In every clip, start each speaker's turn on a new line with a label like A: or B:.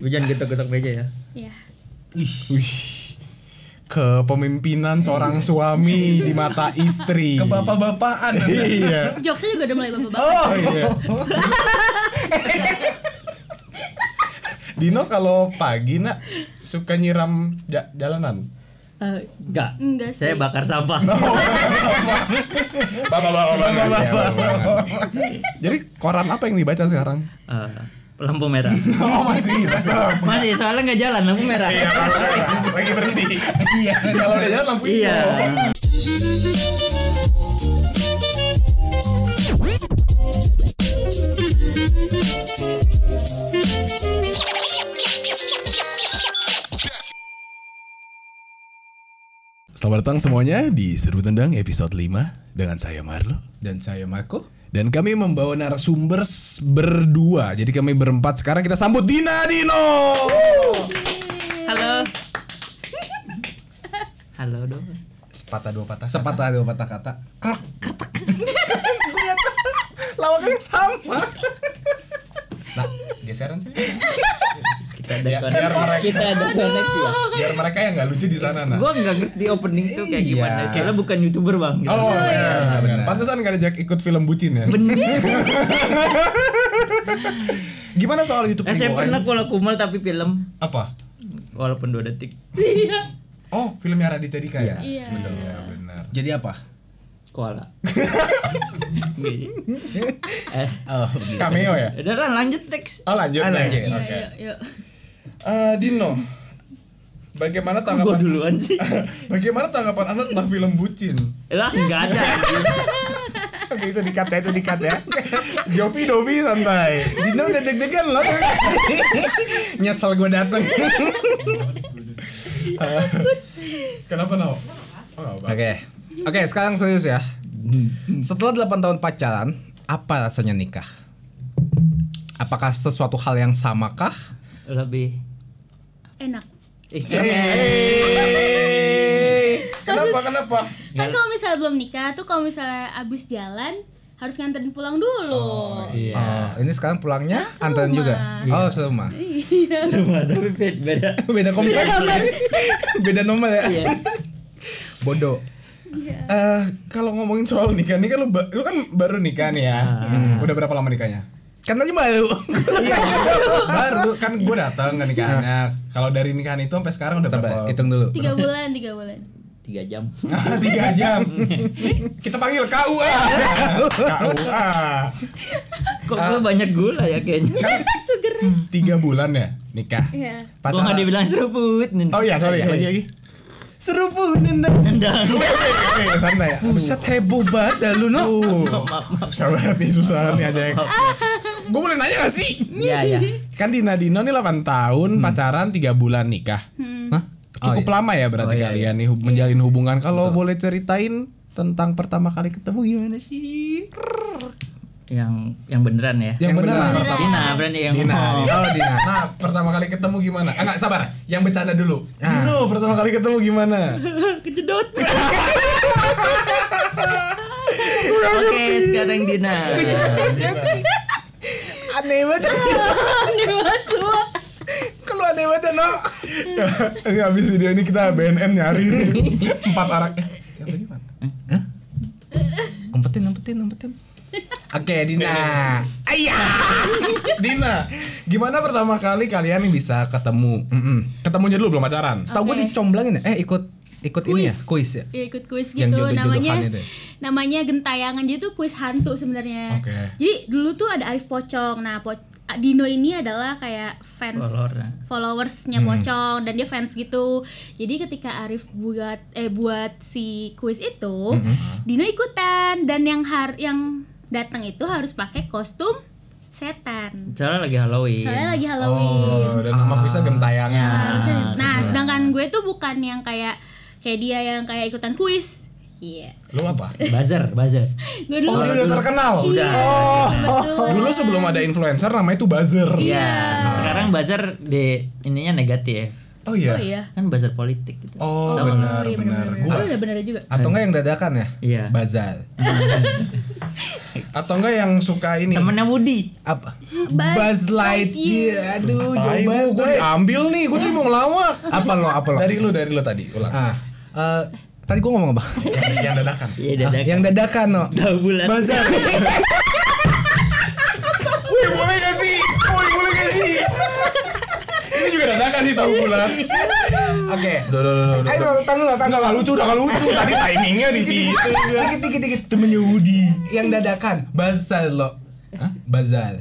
A: Lu jangan getok-getok meja ya.
B: Iya.
C: Wih. Kepemimpinan seorang suami di mata istri.
D: Ke bapak-bapaan.
C: Iya.
B: Jokesnya juga udah mulai bapak-bapak.
C: Oh iya. Dino kalau pagi nak suka nyiram ja- jalanan.
A: Eh, enggak.
B: Enggak sih.
A: Saya bakar sampah.
C: Oh. Bapak bapak bapak Iya, Jadi koran apa yang dibaca sekarang?
A: Eh, lampu merah.
C: Oh masih tetap.
A: Masih soalnya nggak jalan lampu merah.
C: Iya. lagi berhenti. Iya. Kalau udah jalan lampu
A: Iya.
C: Selamat datang semuanya di Seru Tendang episode 5 dengan saya Marlo
D: Dan saya Marco.
C: dan kami membawa narasumber s- berdua. Jadi kami berempat sekarang kita sambut Dina Dino.
A: Halo. Halo dong.
C: Sepatah dua patah.
D: Sepatah dua patah kata.
C: Lawakannya sama. Nah, geseran sih.
A: Kita ada
C: Ya, biar
A: koneksi.
C: mereka-
A: Kita ada koneksi ya.
C: Biar mereka yang nggak lucu di sana nah.
A: Gua nggak ngerti opening tuh kayak
C: Iya.
A: gimana. Soalnya bukan youtuber bang. Gitu.
C: Oh, benar, benar. Pantesan gak ajak ikut film bucin ya.
A: Bener.
C: Gimana soal YouTube
A: Eh, saya
C: Ribuan?
A: pernah kalau kumal tapi film
C: Apa?
A: walaupun dua detik.
B: Iya.
C: Oh, filmnya Raditya Dika ya?
B: Iya.
C: Iya, benar.
D: Jadi apa?
A: Koala. eh,
D: Oh,
C: Cameo ya?
A: udah lah, lanjut teks.
C: Oh, lanjut.
D: Ah, lanjut.
C: lanjut.
B: Iya,
C: Oke.
B: yuk, yuk.
E: Eh, Dino, bagaimana
A: Gua
E: tanggapan
A: duluan sih.
E: bagaimana tanggapan Anda tentang film bucin?
A: Lah nggak ada. anjing.
C: Oke, itu dikat ya, itu dikat ya. Jovi Dovi santai. Dino udah deg-degan loh.
D: Nyesel gue dateng.
C: Eh, Kenapa Nao? Oh, nggak apa-apa.
D: Oke. Oke, sekarang serius ya. Setelah 8 tahun pacaran, apa rasanya nikah? Apakah sesuatu hal yang samakah?
A: Lebih.
B: Enak.
A: Eh,
E: Kenapa kenapa?
B: Kan kalau misalnya belum nikah tuh kalau misalnya abis jalan harus nganterin pulang dulu.
D: Iya. ini sekarang pulangnya
B: Sekarang
D: antaran juga.
B: serumah.
D: Oh, serumah.
B: Iya,
A: Serumah tapi beda. Oh, beda.
D: Beda kompleks.
B: kamar.
D: Beda nomor ya.
A: Iya.
D: Bodoh.
C: Eh, kalau ngomongin soal nikah, nih kan lu, ba- lu kan baru nikah nih ya.
D: Ah.
C: Udah berapa lama nikahnya?
D: Kan tadi baru.
C: baru kan gue datang ke nikahannya. Kalau dari nikahan itu sampai sekarang udah
D: Sabar,
C: berapa?
D: Ah. hitung dulu.
B: Tiga bulan, tiga bulan.
A: Tiga jam.
C: tiga jam. Kita panggil KUA. KUA.
A: Kok
C: Ah.
A: gua banyak gula ya kayaknya.
B: Sugar rush.
C: Tiga bulan ya nikah.
B: Iya.
A: Gua nggak dibilang seruput.
C: Oh iya, sorry. Lagi lagi. Seru pun nendang. Santai ya.
D: Buset heboh banget dah lu no.
C: Uh, susah banget nih, susah nih aja. Gue boleh nanya gak sih?
A: Iya iya.
C: Kan Dina Dino nih 8 tahun, pacaran 3 bulan nikah.
D: Hah?
C: Cukup lama ya berarti
A: Hmm. Oh, iya,
C: kalian nih hub- menjalin hubungan. Kalau boleh ceritain tentang pertama kali ketemu gimana sih?
A: Yang yang beneran ya.
C: Yang, beneran.
D: beneran.
C: pertama.
A: Dina berani yang oh.
C: Dina,
A: ngomong.
C: Dina. Nah, pertama kali ketemu gimana? Eh, enggak, sabar. Yang bercanda dulu.
A: Ah.
C: Dino, pertama kali ketemu gimana?
A: Kejedot. Oke, sekarang Dina.
D: Aneh banget.
B: Aneh banget semua.
D: Kalau aneh banget no.
C: ini habis video ini kita BNN nyari nih. empat arak.
D: Umpetin, umpetin, umpetin.
C: Oke, Dina. Ayah. Dina, gimana pertama kali kalian nih bisa ketemu? Ketemunya dulu belum pacaran.
D: Tahu gue dicomblangin ya? Eh ikut ikut ini ya, kuis ya.
B: Ya, ikut kuis gitu
D: Yang jodoh-jodohan
B: namanya
D: itu ya?
B: namanya gentayangan jadi tuh kuis hantu sebenarnya
C: Oke.
B: jadi dulu tuh ada Arif Pocong nah Po- Dino ini adalah kayak fans
A: Follower, ya.
B: followersnya Pocong dan dia fans gitu jadi ketika Arif buat eh buat si kuis itu Dino ikutan dan yang har yang datang itu harus pakai kostum setan
A: Soalnya lagi Halloween.
B: soalnya lagi Halloween
C: Oh, dan nama kuisnya
D: Ya.
C: gentayangan.
B: Harusnya- nah sedangkan gue tuh bukan yang kayak kayak dia yang kayak ikutan kuis iya
C: Lu apa?
A: Buzzer, buzzer.
B: gue dulu
C: Oh, lu udah terkenal. Oh.
A: Udah.
C: Dulu sebelum ada influencer namanya itu buzzer.
A: Iya. Sekarang buzzer di ininya negatif.
C: Oh iya.
B: Oh iya.
A: Kan bazar politik gitu.
C: Oh,
B: Oh,
C: benar
B: iya,
C: benar.
B: Gua
C: Gua
B: udah benar juga.
D: Atau enggak yang dadakan ya?
A: Iya.
D: Bazar.
C: atau enggak yang suka ini.
A: Temennya Woody.
D: Apa?
B: Buzz
D: Buzz
B: Lightyear.
D: Lightyear. Aduh,
C: Tai
D: coba.
C: gua, gua diambil nih, gua tuh mau ngelawak.
D: Apa lo? Apa lo?
C: Dari lu, dari lu tadi, ulang.
D: Ah, eh, tadi gua ngomong apa?
C: Yang- yang dadakan.
A: Iya,
D: Ah,
A: dadakan.
D: yang dadakan no.
A: Tahu bulan.
D: Bazar.
C: Woi, boleh gak sih? Woi, boleh gak sih? Ini juga dadakan sih tahu bulan.
D: Oke.
C: Duh, duh, duh, duh, duh.
D: Ayo tangan lo,
C: Udah
D: tangan
C: gak lucu, udah gak lucu. Tadi timingnya di situ.
D: Dikit dikit dikit temennya Woody yang dadakan bazar lo. Hah? Bazar.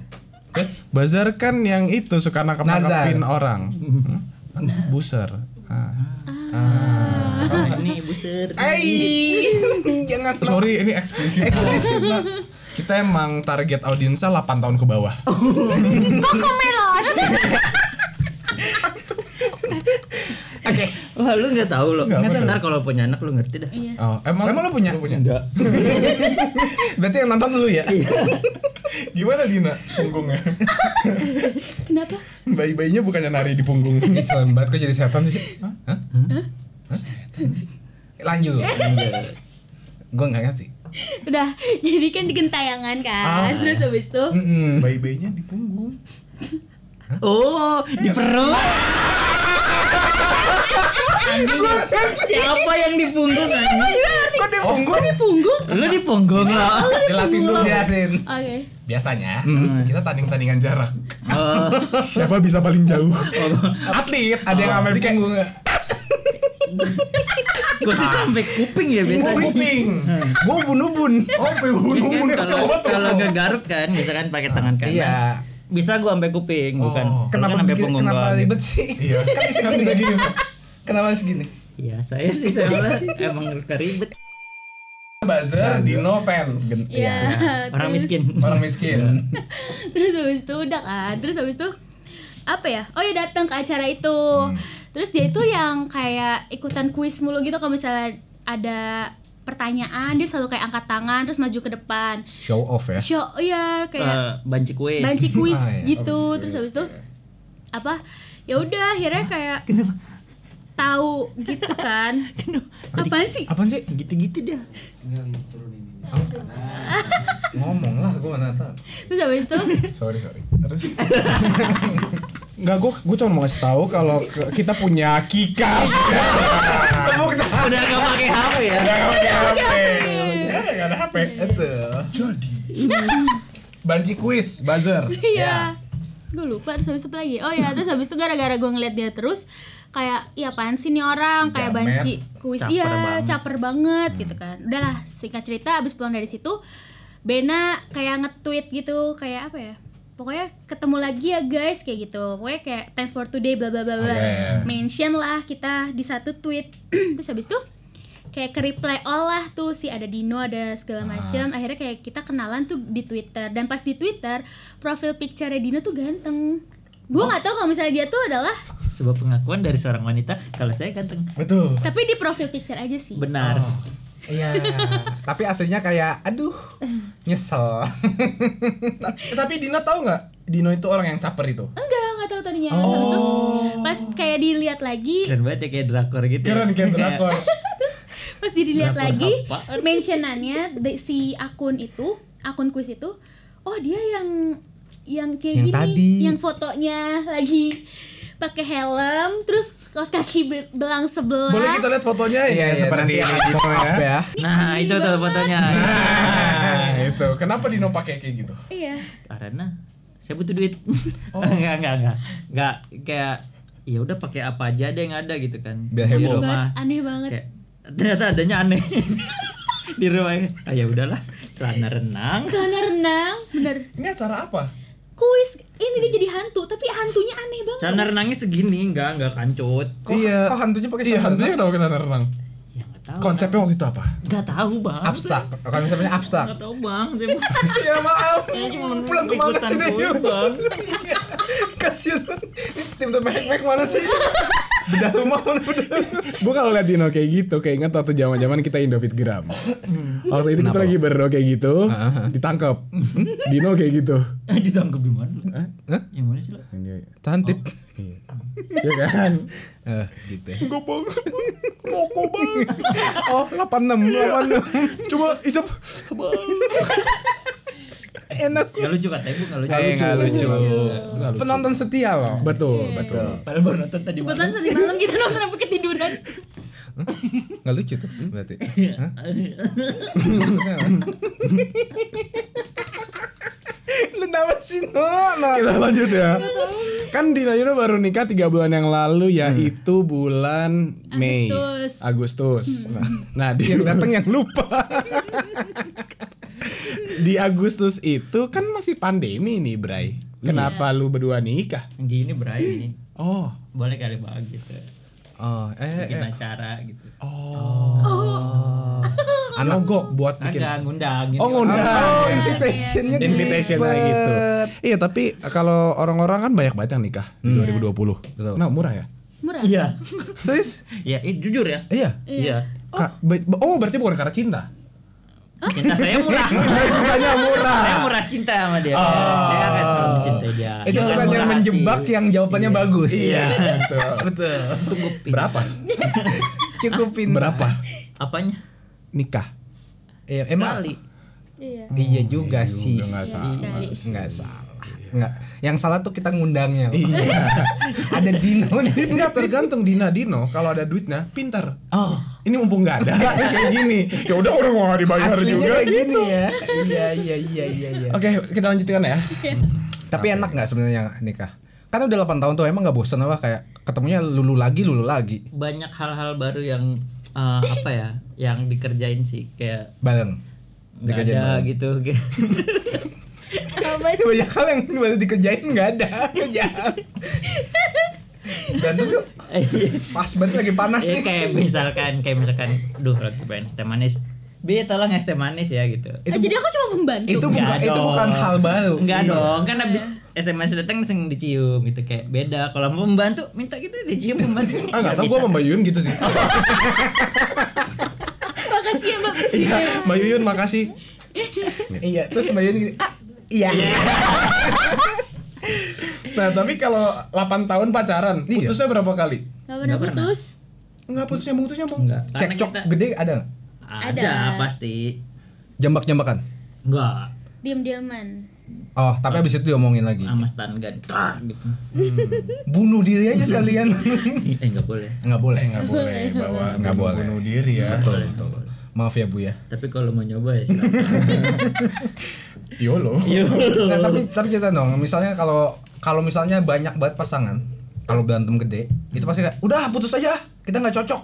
D: Terus
C: Bazar kan yang itu suka nangkap-nangkapin orang. Hmm? Buser.
A: Ah, ini buser.
D: Hai, jangan sorry.
C: Sorry, ini eksplisit. Kita emang target audiensnya 8 tahun ke bawah.
B: Koko melon.
D: Oke.
A: Wah, lu nggak tahu lo.
C: Nggak tahu.
A: Ntar kalau punya anak lu ngerti dah.
B: Iya.
C: Oh, emang,
D: Emang lu punya?
A: Enggak.
D: Berarti yang nonton dulu ya.
F: Gimana Dina punggungnya?
B: Kenapa?
F: Bayi-bayinya bukannya nari di punggung.
D: Islam banget kok jadi setan sih. Hah? Hah? Lanjut. Gue nggak ngerti.
B: Udah, jadi kan di gentayangan kan. Terus habis itu
C: Hmm.
F: Bayi-bayinya di punggung.
A: Oh, di perut. Anjing, siapa yang di punggung anjing?
D: Kok dia punggung?
B: di punggung.
A: Lu di punggung lo.
C: Oh,
D: Jelasin dulu.
C: ya.
D: Jelasin.
B: Oke.
A: Iya,
C: biasanya kita tanding-tandingan jarak.
A: Oh,
C: Siapa bisa paling jauh?
D: Atlet. Ada yang ambil punggung nggak?
A: gua sih sampai kuping ya biasanya.
D: Kuping.
C: Hmm.
D: Gue ubun-ubun. Oh,
A: Kan
D: ubun-ubun.
A: kalau kalau
C: Oh.
A: ngegaruk kan misalkan pakai tangan kanan.
D: Iya.
A: Bisa gua sampai kuping, bukan.
C: Oh.
A: Lu kan
D: Kenapa
A: sampai
D: begini-
A: punggung
D: kenapa
A: doang.
D: ribet sih?
C: Iya.
D: Kan bisa
C: Kan bisa
D: gini.
C: gini.
D: Kenapa harus gini?
A: Iya, saya sih saya malah emang ribet.
C: Buzzer Dino fans.
B: Iya.
A: Orang
B: terus-
A: miskin.
C: Orang miskin.
B: Terus habis itu udah kan. Terus habis itu apa ya? Oh ya datang ke acara itu. Terus dia itu yang kayak ikutan kuis mulu gitu kalau misalnya ada pertanyaan dia selalu kayak angkat tangan terus maju ke depan.
D: Show off ya.
B: Show iya kayak
A: Eh, banci kue.
B: banci kuis
D: Ah, iya.
B: gitu terus habis itu apa ya udah akhirnya kayak tahu gitu kan apaan sih
D: Apaan sih?
A: gitu-gitu dia.
D: Ngomong lah gue mana tahu.
B: terus habis itu
C: Sorry, sorry. Terus Enggak, gue gue cuma mau ngasih tahu kalau ke- kita punya kika.
D: Tepuk tangan.
A: Udah gak pakai HP ya.
B: iya.
D: Iya.
C: Eh, nggak ada HP.
D: Itu.
C: Jadi banci kuis, buzzer.
B: iya gue lupa terus habis itu apa lagi oh ya terus habis itu gara-gara gue ngeliat dia terus kayak iya apaan sih nih orang kayak
C: Jamet.
B: banci kuis
A: Caper
B: iya
A: banget.
B: caper banget gitu kan udahlah singkat cerita abis pulang dari situ Bena kayak nge-tweet gitu kayak apa ya pokoknya ketemu lagi ya guys kayak gitu pokoknya kayak thanks for today bla bla bla bla
C: Oke.
B: mention lah kita di satu tweet terus habis itu kayak ke reply all lah tuh si ada Dino ada segala macam akhirnya kayak kita kenalan tuh di Twitter dan pas di Twitter profil picture Dino tuh ganteng gue nggak tahu kalau misalnya dia tuh adalah
A: Sebuah pengakuan dari seorang wanita kalau saya ganteng.
C: Betul.
B: tapi di profil picture aja sih
A: Benar.
C: Oh.
D: Iya. Tapi aslinya kayak aduh nyesel.
C: Tapi Dina tahu nggak Dino itu orang yang caper itu?
B: enggak nggak tahu tadinya habis itu pas kayak dilihat lagi
A: Keren banget ya kayak drakor gitu. ya.
C: Keren kayak drakor.
B: pas dilihat
A: Drakor
B: lagi
A: apaan?
B: mentionannya di- si akun itu akun kuis itu oh dia yang yang kayak
D: Yang
B: gini
D: tadi.
B: yang fotonya lagi pakai helm terus kaos kaki be- belang sebelah
C: Boleh kita lihat fotonya ya, seperti
D: Iya, nanti akan
C: Dino
D: pop up
C: ya.
D: ya.
A: Nah, itu tuh fotonya.
C: Nah, itu. Kenapa Dino pakai kayak gitu?
B: iya
A: Karena saya butuh duit.
C: Oh.
A: enggak, enggak, enggak. Enggak kayak ya udah pakai apa aja deh yang ada gitu kan.
D: Biar
A: Di
D: heboh.
A: rumah.
B: banget aneh banget
A: Kayak ternyata adanya aneh. di rumah ah, ya udahlah celana renang
B: celana renang bener
C: Ini acara apa?
B: kuis ini dia jadi hantu tapi hantunya aneh banget
A: celana renangnya segini enggak enggak kancut
D: Kok, iya. Kok hantunya pakai
C: Iya,
D: celana
C: hantunya kenapa kita renang?
A: ya enggak tahu
C: Konsepnya waktu itu apa?
A: enggak tahu bang
D: abstrak. Kalau misalnya abstrak.
A: enggak tahu bang saya
C: ya maaf.
A: saya cuma
C: Pulang kemana
A: ikutan
C: sih
A: kuis,
C: Dino?
A: bang
C: Kasian. Tim tim mek mana sih? Bedah rumah mana bedah. Gue kalau liat Dino kayak gitu, kayak ingat waktu zaman-zaman kita Indofit Gram. Waktu itu kita lagi berdo kayak gitu, ditangkap. Dino kayak gitu.
A: ditangkap di mana? Yang mana sih lo?
D: Tantip.
C: ya kan
D: Eh, gitu.
C: gue banget rokok banget ya. oh 86 86 coba isap
D: Enak.
A: Gak Ya, lucu katanya bu, gak lucu.
D: Eh, nggak lucu.
C: Iya.
G: Penonton setia loh.
C: betul betul
A: Padahal baru nonton tadi
B: Kebetulan tadi malam kita nonton sampai ketiduran.
D: Nggak lucu tuh berarti. Hah? Maksudnya apa?
G: Lu kenapa sih no?
C: kita lanjut ya kan Dina Yuna baru nikah tiga bulan yang lalu yaitu bulan Mei
B: Agustus.
C: Agustus nah di
D: Yang datang yang lupa.
C: di Agustus itu kan masih pandemi nih Bray kenapa lu berdua nikah
A: Gini Bray ini.
C: oh
A: Boleh kali bang gitu.
D: Oh, eh,
A: Bikin acara gitu.
D: Oh,
C: Ah,
D: anogok buat bikin.
A: Agak ngundang gitu.
C: Oh ngundang
G: Invitationnya di-
C: invitation lah gitu. Iya tapi kalau orang-orang kan banyak banget yang nikah 2020.
D: Betul.
C: Nah murah ya?
B: Murah.
A: Iya.
D: Serius?
A: Ya, eh, jujur ya.
D: Iya.
A: Iya.
C: Ka- ba- ba- Oh. berarti bukan karena cinta?
A: Cinta saya
D: Oh.
A: murah.
C: Bukannya murah.
A: saya murah cinta sama dia. Saya akan selalu mencintai dia. Nah,
D: Itu
A: Jangan
D: bukan yang
A: murah hati.
D: menjebak yang jawabannya bagus.
A: Iya.
D: Betul. Betul.
A: Cukupin.
C: Berapa?
D: Cukupin.
C: Berapa?
A: Apanya?
C: Nikah.
D: Iya, emang
A: Sekali.
B: Iya.
D: Iya juga sih.
C: Udah nggak salah.
B: Sekali.
D: Enggak salah. Enggak. Yang salah tuh kita ngundangnya. Iya. Oh, Ada Dino nih.
C: Oh, Enggak tergantung Dina Dino kalau ada duitnya pintar.
D: Oh.
C: Ini mumpung nggak ada kayak gini. Ya udah orang mau nggak
D: iya
C: dibayar juga.
D: kayak gini ya. Iya iya iya ya? iya iya.
C: Oke kita lanjutkan ya.
D: Tapi enak nggak sebenarnya nikah? Kan udah 8 tahun tuh emang nggak bosan apa kayak ketemunya lulu lagi lulu lagi
A: Banyak hal-hal baru yang eh, apa ya? Yang dikerjain sih kayak
D: bareng.
A: nggak
D: Dikerjain
A: ada
D: bareng.
A: gitu.
B: Apa sih?
D: Banyak hal yang baru dikerjain nggak ada kerjaan. Dan itu pas banget lagi panas
A: Iya
D: nih.
A: kayak misalkan kayak misalkan duh lagi pengen es teh manis. Bi tolong es teh manis ya gitu.
B: Eh, jadi aku cuma membantu.
D: Itu bukan
A: Nggak
D: itu
A: dong.
D: bukan hal baru.
A: Enggak
D: Iya.
A: dong, kan habis es teh
B: Iya.
A: manis datang langsung dicium gitu kayak beda. Kalau mau membantu minta gitu dicium membantu.
C: Ah nggak tahu gue sama Mbak Yuyun gitu
D: Oh,
C: sih.
B: Makasih ya, Mbak.
C: Iya Mbak Yuyun makasih.
D: Iya, terus Mbak Yuni gini, ah, iya.
C: Nah tapi kalau 8 tahun pacaran putusnya berapa kali?
B: Gak pernah
A: Nggak pernah.
B: putus.
C: Enggak putusnya putusnya mau.
A: Enggak. Karena
D: Cekcok
A: kita-
D: gede ada nggak?
A: Ada,
B: Ada.
A: pasti.
D: Jambak-jambakan.
A: Enggak.
B: Diam-diaman.
D: Oh, tapi abis itu diomongin lagi.
A: Sama stun gun. Trak, gitu.
D: Bunuh diri aja sekalian.
A: eh enggak boleh.
D: Nggak boleh, nggak
G: Nggak boleh bawa
D: Nggak boleh.
G: bunuh diri ya.
D: Betul, betul. Maaf ya Bu ya.
A: Tapi kalau mau nyoba ya silakan.
G: Yolo.
D: Nah, tapi tapi cerita dong, misalnya kalau kalau misalnya banyak banget pasangan, kalau berantem gede, itu pasti kayak udah putus aja, kita nggak cocok.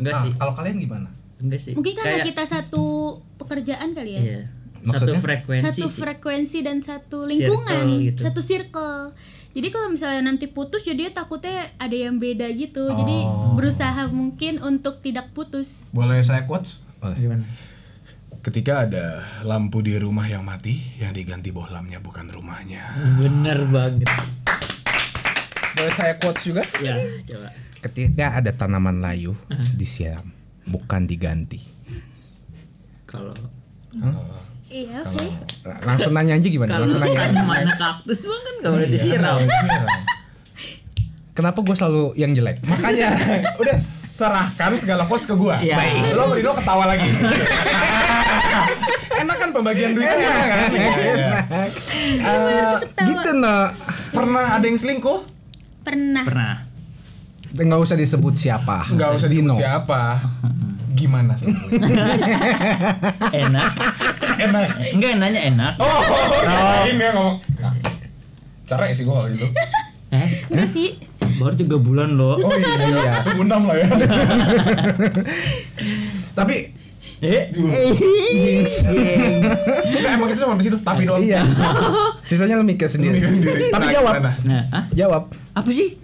A: enggak
D: Nah,
A: sih.
D: kalau kalian gimana?
A: Enggak sih.
B: Mungkin
A: Iya.
B: karena
A: Kayak-
B: kita satu pekerjaan kali ya.
A: Iya. Satu
D: Maksudnya?
A: frekuensi.
B: satu
A: sih.
B: frekuensi dan satu
A: Circle
B: lingkungan,
A: gitu.
B: satu circle. Jadi kalau misalnya nanti putus jadi takutnya ada yang beda gitu. Jadi
C: Oh.
B: berusaha mungkin untuk tidak putus.
G: Boleh saya quotes?
A: Gimana?
G: Ketika ada lampu di rumah yang mati, yang diganti bohlamnya bukan rumahnya.
A: Bener banget.
D: Boleh saya quotes juga?
A: Ya, coba.
D: Ketika ada tanaman layu disiram, bukan diganti.
A: Kalau
B: Iya, oke.
D: Langsung nanya aja gimana?
A: kalau kan ya.
D: Langsung nanya.
A: mana kaktus bang kan nggak boleh disiram.
D: Kenapa gue selalu yang jelek?
C: Makanya udah serahkan segala quotes ke gua.
A: Iya.
C: Baik. Lo Dino ketawa lagi. enak kan pembagian duitnya enak kan?
A: Iya,
D: Eh, gitu nah
C: Pernah ada yang selingkuh?
B: Pernah.
A: Pernah.
D: nggak usah disebut siapa
C: Enggak usah disebut
D: Dino.
C: siapa. Gimana sih?
A: Enak. Eh,
C: enak.
A: Enggak nanya enak.
C: Oh, kirain dia ngomong. Nah, Cerai sih gua kalau gitu.
A: Eh,
B: Enggak sih.
A: baru tiga bulan loh.
C: Oh iya, tunggu enam lah ya.
D: tapi
A: Eh,
C: Nah, emang kita cuma di situ tapi doang.
D: iya sisanya lu mikir sendiri
C: Nah,
D: tapi jawab
C: gimana?
A: nah, ah,
D: jawab
A: apa sih?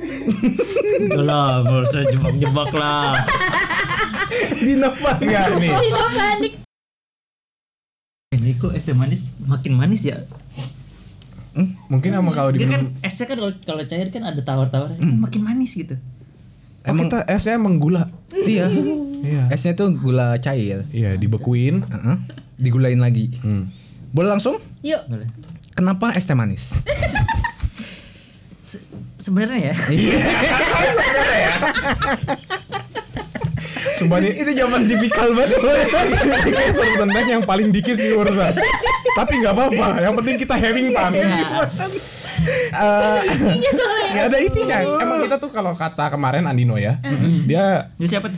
A: Udah lah, nggak usah jebak-jebak lah.
D: Dino
C: Enggak Iya, nih.
B: Tidak panik.
A: Ini kok es teh manis makin manis ya?
C: Mungkin sama kalau
A: Dia kan
C: diminum
A: esnya kan kalau- kalau cair kan ada tawar-tawarnya, Ini makin manis gitu.
D: emang
C: kita esnya emang gula.
D: iya
C: Iya.
D: esnya tuh gula cair
C: Iya, Hmm. dibekuin.
D: Heeh. digulain lagi boleh langsung
B: Yuk.
A: Boleh.
D: kenapa es teh manis
A: Se- sebenarnya ya
D: Iya.
H: Iya.
D: Sumpah ini itu zaman tipikal banget.
H: Kayak Iya. seru tentang yang paling dikit sih urusan. Tapi nggak apa-apa. Yang penting kita having fun.
D: Iya,
A: Nah,
H: Nggak ada isinya. Emang kita tuh kalau kata kemarin Andino ya, dia
A: ini siapa tuh?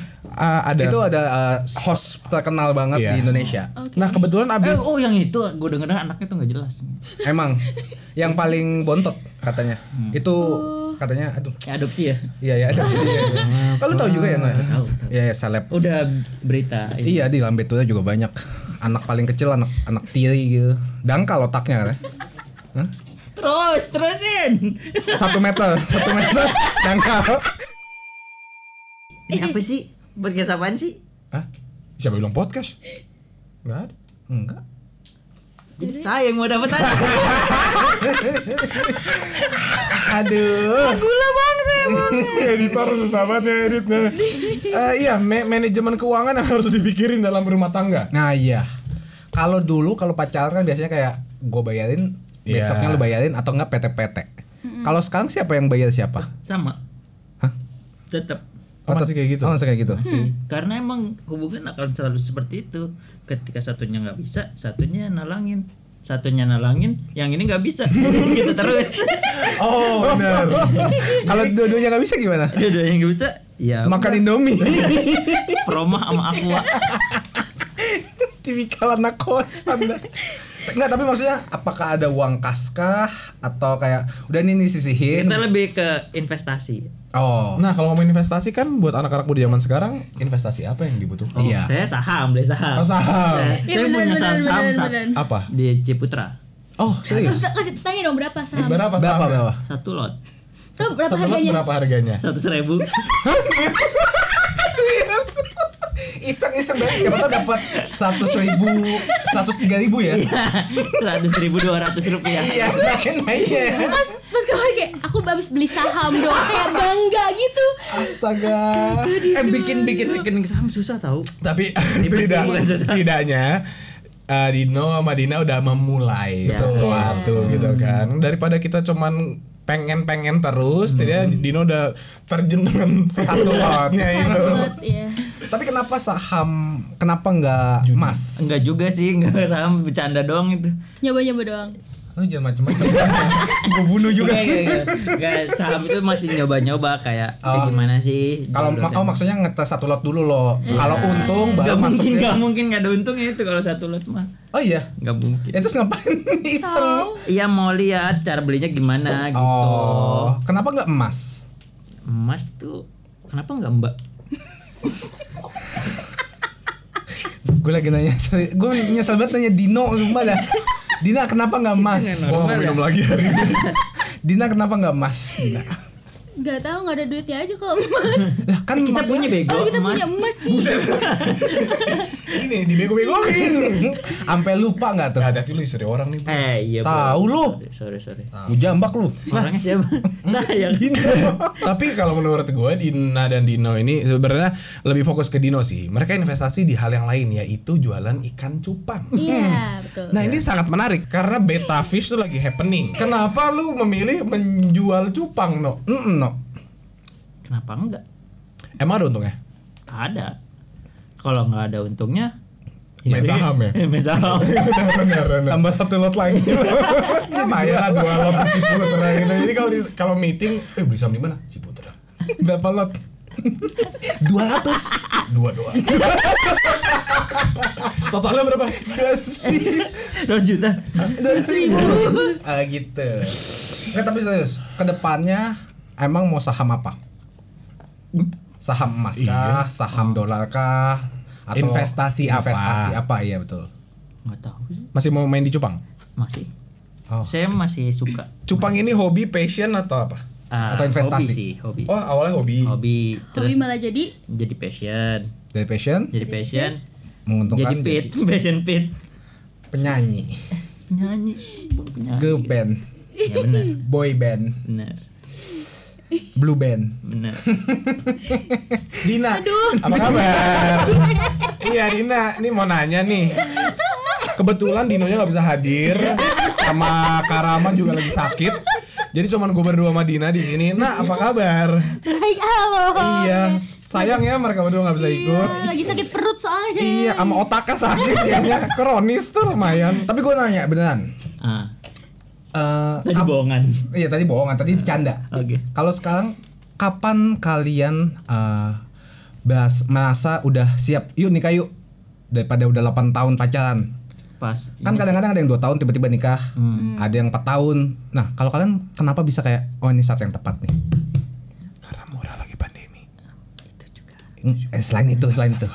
H: uh,
C: ah,
H: ada.
D: itu ada uh, host terkenal banget
H: Iya.
D: di Indonesia.
H: Nah kebetulan
A: Eh,
H: abis.
A: oh yang itu gue denger anaknya tuh nggak jelas
D: Emang yang paling bontot katanya.
H: Hmm.
D: Itu
H: Oh.
D: katanya aduh.
A: ya, adopsi ya
D: Iya ya ada. Kalau tahu juga ya Noy?
A: Tahu,
D: Iya ya seleb.
A: udah berita ini.
D: Iya di Lambetunya juga banyak anak paling kecil anak anak tiri gitu. Dangkal otaknya kan.
A: terus terusin
D: Satu meter, satu meter dangkal.
A: ini apa sih podcast apaan sih
C: Hah? Siapa bilang podcast?
D: Enggak ada. Enggak.
A: jadi saya yang mau dapat aja
D: Aduh.
H: editor susah banget ya editnya.
C: Eh, iya, ma- manajemen keuangan yang harus dipikirin dalam rumah tangga.
D: Nah iya. Kalau dulu kalau pacaran kan biasanya kayak gue bayarin,
C: Iya.
D: besoknya lu bayarin atau enggak PT-PT. Kalau sekarang siapa yang bayar siapa?
A: sama
D: Hah?
A: tetap
C: Oh, masih kayak gitu?
D: Oh, masih kayak gitu.
A: karena emang hubungan akan selalu seperti itu ketika satunya nggak bisa satunya nalangin satunya nalangin yang ini nggak bisa Jadi gitu terus
D: Oh, benar. kalau dua-duanya nggak bisa gimana?
A: ada yang nggak bisa ya
D: Makan Indomie.
A: promo sama aqua
D: Tipikal anak kosan. Enggak, tapi maksudnya apakah ada uang kaskah atau kayak udah ini nih sisihin?
A: kita lebih ke investasi
D: Oh.
C: Nah, kalau ngomong investasi kan buat anak-anak muda zaman sekarang, investasi apa yang dibutuhkan?
D: Iya.
A: Oh, saya saham beli saham
C: Oh, saham.
A: Eh, saya
B: Iya, beneran,
A: punya
B: beneran,
A: saham saham
B: beneran,
A: saham
B: beneran.
C: Apa?
A: di Ciputra
D: Oh, serius?
B: Kak, kasih tanya dong berapa saham?
C: Eh, Berapa
D: Berapa
C: sahamnya?
D: berapa?
A: satu lot
B: Tuh, berapa
C: Satu lot
B: harganya?
C: berapa harganya?
A: satu ribu
D: Iseng-iseng banget siapa tau dapat 100 ribu, 103 ribu ya?
A: seratus ribu dua ratus rupiah
D: Iya, main-mainnya.
B: Pas pas kemarin kayak aku habis beli saham dong, kayak bangga gitu.
D: Astaga.
A: eh bikin bikin rekening saham susah tau
C: Tapi setidak,
A: bukan sesat.
C: setidaknya eh, Dino sama Dina udah memulai
A: Ya.
C: sesuatu gitu kan. Daripada kita cuman pengen-pengen terus, tidak Dino udah terjun dengan satu lotnya itu.
B: Banget ya.
D: Tapi kenapa saham? Kenapa nggak emas?
A: enggak juga sih enggak saham bercanda doang itu
B: Nyoba-nyoba doang.
D: Lu jangan macam-macam. Gue bunuh juga.
A: Enggak, enggak, enggak. Enggak, saham itu masih nyoba-nyoba kayak "Eh, gimana sih
D: Oh. Kalau
A: Dulu
D: ma- oh,
A: kan.
D: maksudnya ngetes satu lot dulu loh. Kalau untung baru
A: nggak mungkin
D: masuknya.
A: nggak mungkin nggak ada untungnya itu kalau satu lot mah
D: Oh iya.
A: nggak mungkin
D: Ya, terus ngapain iseng?
B: Tahu.
A: Iya mau lihat cara belinya gimana gitu
D: Oh, kenapa nggak emas?
A: emas tuh kenapa nggak mbak
D: Gue lagi nanya, gue nyesel banget nanya Dino rumah dah. Dina kenapa nggak emas?
C: Gua nggak minum lagi hari ini.
D: Dina kenapa nggak emas? Dina.
B: Gak tahu nggak ada duitnya aja kalau emas.
D: Lah kan
A: Eh, kita
D: maksudnya-
A: punya bego
B: Oh, kita
A: emas.
B: punya emas sih.
C: Ini dibego-begoin.
D: Sampai lupa nggak tuh?
C: Hati-hati lu istri orang nih.
A: eh iya
D: Tahu
A: Bro.
D: lu.
A: sorry sorry
D: Ujambak lu.
A: orangnya siapa saya
C: Tapi kalau menurut gue Dina dan Dino ini sebenarnya lebih fokus ke Dino sih. Mereka investasi di hal yang lain yaitu jualan ikan cupang.
B: Iya, betul.
C: Nah ini sangat menarik karena beta fish tuh lagi happening. Kenapa lu memilih menjual cupang no?
D: Mm no.
A: kenapa enggak
C: Emang ada untungnya?
A: ada kalau nggak ada untungnya
C: Main saham ya?
A: eh, main saham
C: benar benar.
D: Tambah satu lot lagi.
C: Lumayan lah Iya, dua lot di Ciputra gitu. Jadi kalau di- kalau meeting, eh beli saham di mana? Ciputra.
D: Berapa lot? 200
C: Dua dua. Totalnya berapa?
A: Dua juta
D: Ah gitu. Nggak, tapi serius, kedepannya emang mau saham apa? Saham emas kah? Saham dolar kah?
C: Investasi apa?
D: Investasi apa? Iya betul.
A: nggak tahu sih
C: Masih mau main di cupang?
A: masih
D: Oh.
A: saya masih suka
C: Cupang ini hobi, passion atau apa?
A: Ah,
D: Atau
A: hobi
D: investasi?
A: sih hobi
C: Oh awalnya hobi.
A: hobi terus
B: Hobi malah jadi
A: jadi passion
D: Dari passion
A: jadi passion jadi
D: menguntungkan
A: pit passion pit
D: penyanyi,
A: nyanyi penyanyi
D: girl band,
A: ya benar
D: boy band,
A: benar
D: blue band.
A: benar
D: Dina,
C: Apa kabar? Iya Dina, ini mau nanya nih. Kebetulan Dinonya nggak bisa hadir, sama Karama juga lagi sakit. Jadi cuman gue berdua sama Dina di sini. Nah, apa kabar?
B: Baik, halo.
C: iya, sayang ya mereka berdua nggak bisa ikut.
B: Iya, lagi sakit perut soalnya.
C: Iya, sama otaknya sakit dianya kronis tuh lumayan.
D: Tapi gue nanya beneran.
A: Ah,
D: Eh,
A: tadi bohongan.
D: iya tadi bohongan, tadi bercanda.
A: Oke.
D: Kalau sekarang kapan kalian eh bahas, merasa udah siap? Yuk nikah yuk. Daripada udah 8 tahun pacaran.
A: Pas.
D: Kan
C: Iya.
D: kadang-kadang ada yang 2 tahun tiba-tiba nikah,
C: Hmm.
D: ada yang 4 tahun. Nah, kalau kalian kenapa bisa kayak oh ini saat yang tepat nih?
C: Karena murah lagi pandemi.
D: Eh, selain itu, selain itu.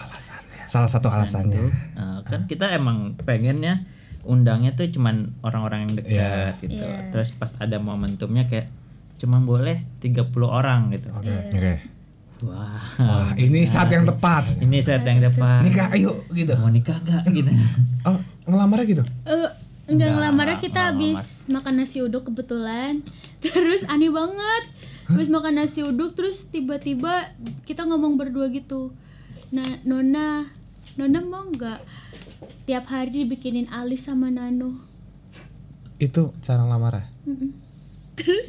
D: Salah satu alasannya.
A: Eh, kan kita emang pengennya undangnya tuh cuman orang-orang yang dekat
D: Iya.
A: gitu. Terus pas ada momentumnya kayak cuman boleh 30 orang gitu.
B: Iya.
D: Oke.
A: Wah.
D: Wah, ini saat yang tepat.
A: Ini set yang depan.
D: Nikah ayo gitu.
A: Mau nikah gak gitu.
C: Oh, ngelamarnya gitu.
B: Eh, enggak ngelamarnya kita habis makan nasi uduk kebetulan. Terus aneh banget. Habis makan nasi uduk terus tiba-tiba kita ngomong berdua gitu. Nah, Nona, Nona mau nggak tiap hari dibikinin alis sama Nano?
C: Itu cara ngelamarnya.
B: Terus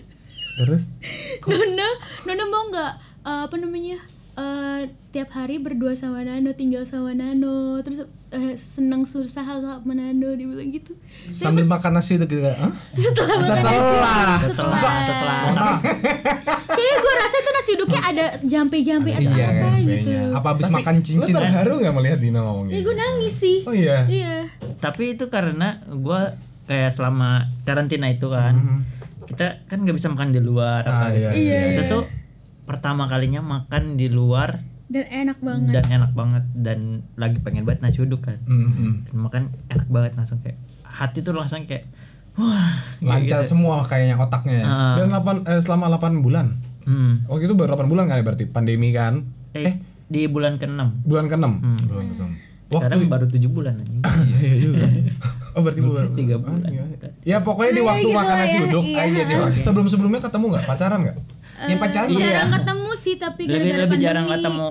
C: Terus
B: Nona, Nona mau nggak eh, apa namanya? eh, tiap hari berdua sama Nano, tinggal sama Nano, terus eh, seneng susah sama Nano dibilang gitu.
D: Sambil makan nasi itu gitu. Hah?
B: Setelah makan nasi
D: Setelah.
A: Setelah setelah
B: Kayaknya gue rasa itu nasi uduknya ada jampe-jampe atau
D: Iya
B: apa
D: kan,
B: gitu.
D: kayaknya. Apa habis makan
C: Lo
D: cincin?
C: terharu nggak melihat Dina ngomong
B: Ya
C: gitu?
B: gue nangis sih.
C: Oh iya.
B: Iya.
A: tapi itu karena gua kayak selama karantina itu kan
D: Mm-hmm.
A: kita kan nggak bisa makan di luar apa
D: Ah,
A: gitu.
C: iya,
A: itu tuh pertama kalinya makan di luar
B: Dan enak banget.
A: dan enak banget dan lagi pengen banget nasi uduk kan Dan makan enak banget langsung kayak hati tuh langsung kayak wah gitu.
C: Iya,
D: Lancar
C: gitu.
D: semua kayaknya otaknya ya.
A: Ah.
C: Dan 8 eh, selama 8 bulan.
A: Hmm.
C: Waktu itu baru 8 bulan kan ya berarti pandemi kan.
A: eh, di bulan keenam
C: Bulan ke-6.
A: sekarang baru tujuh bulan anjing
C: Hmm. Iya juga. Oh berarti bulan.
A: tiga bulan
C: Ya pokoknya di waktu makan nasi uduk. Iya, Sebelum-sebelumnya ketemu nggak? Pacaran nggak?
D: Ya pacaran
B: Jarang ketemu sih tapi
A: lebih
B: gara-gara
A: lebih
B: pandemi.
A: jarang ketemu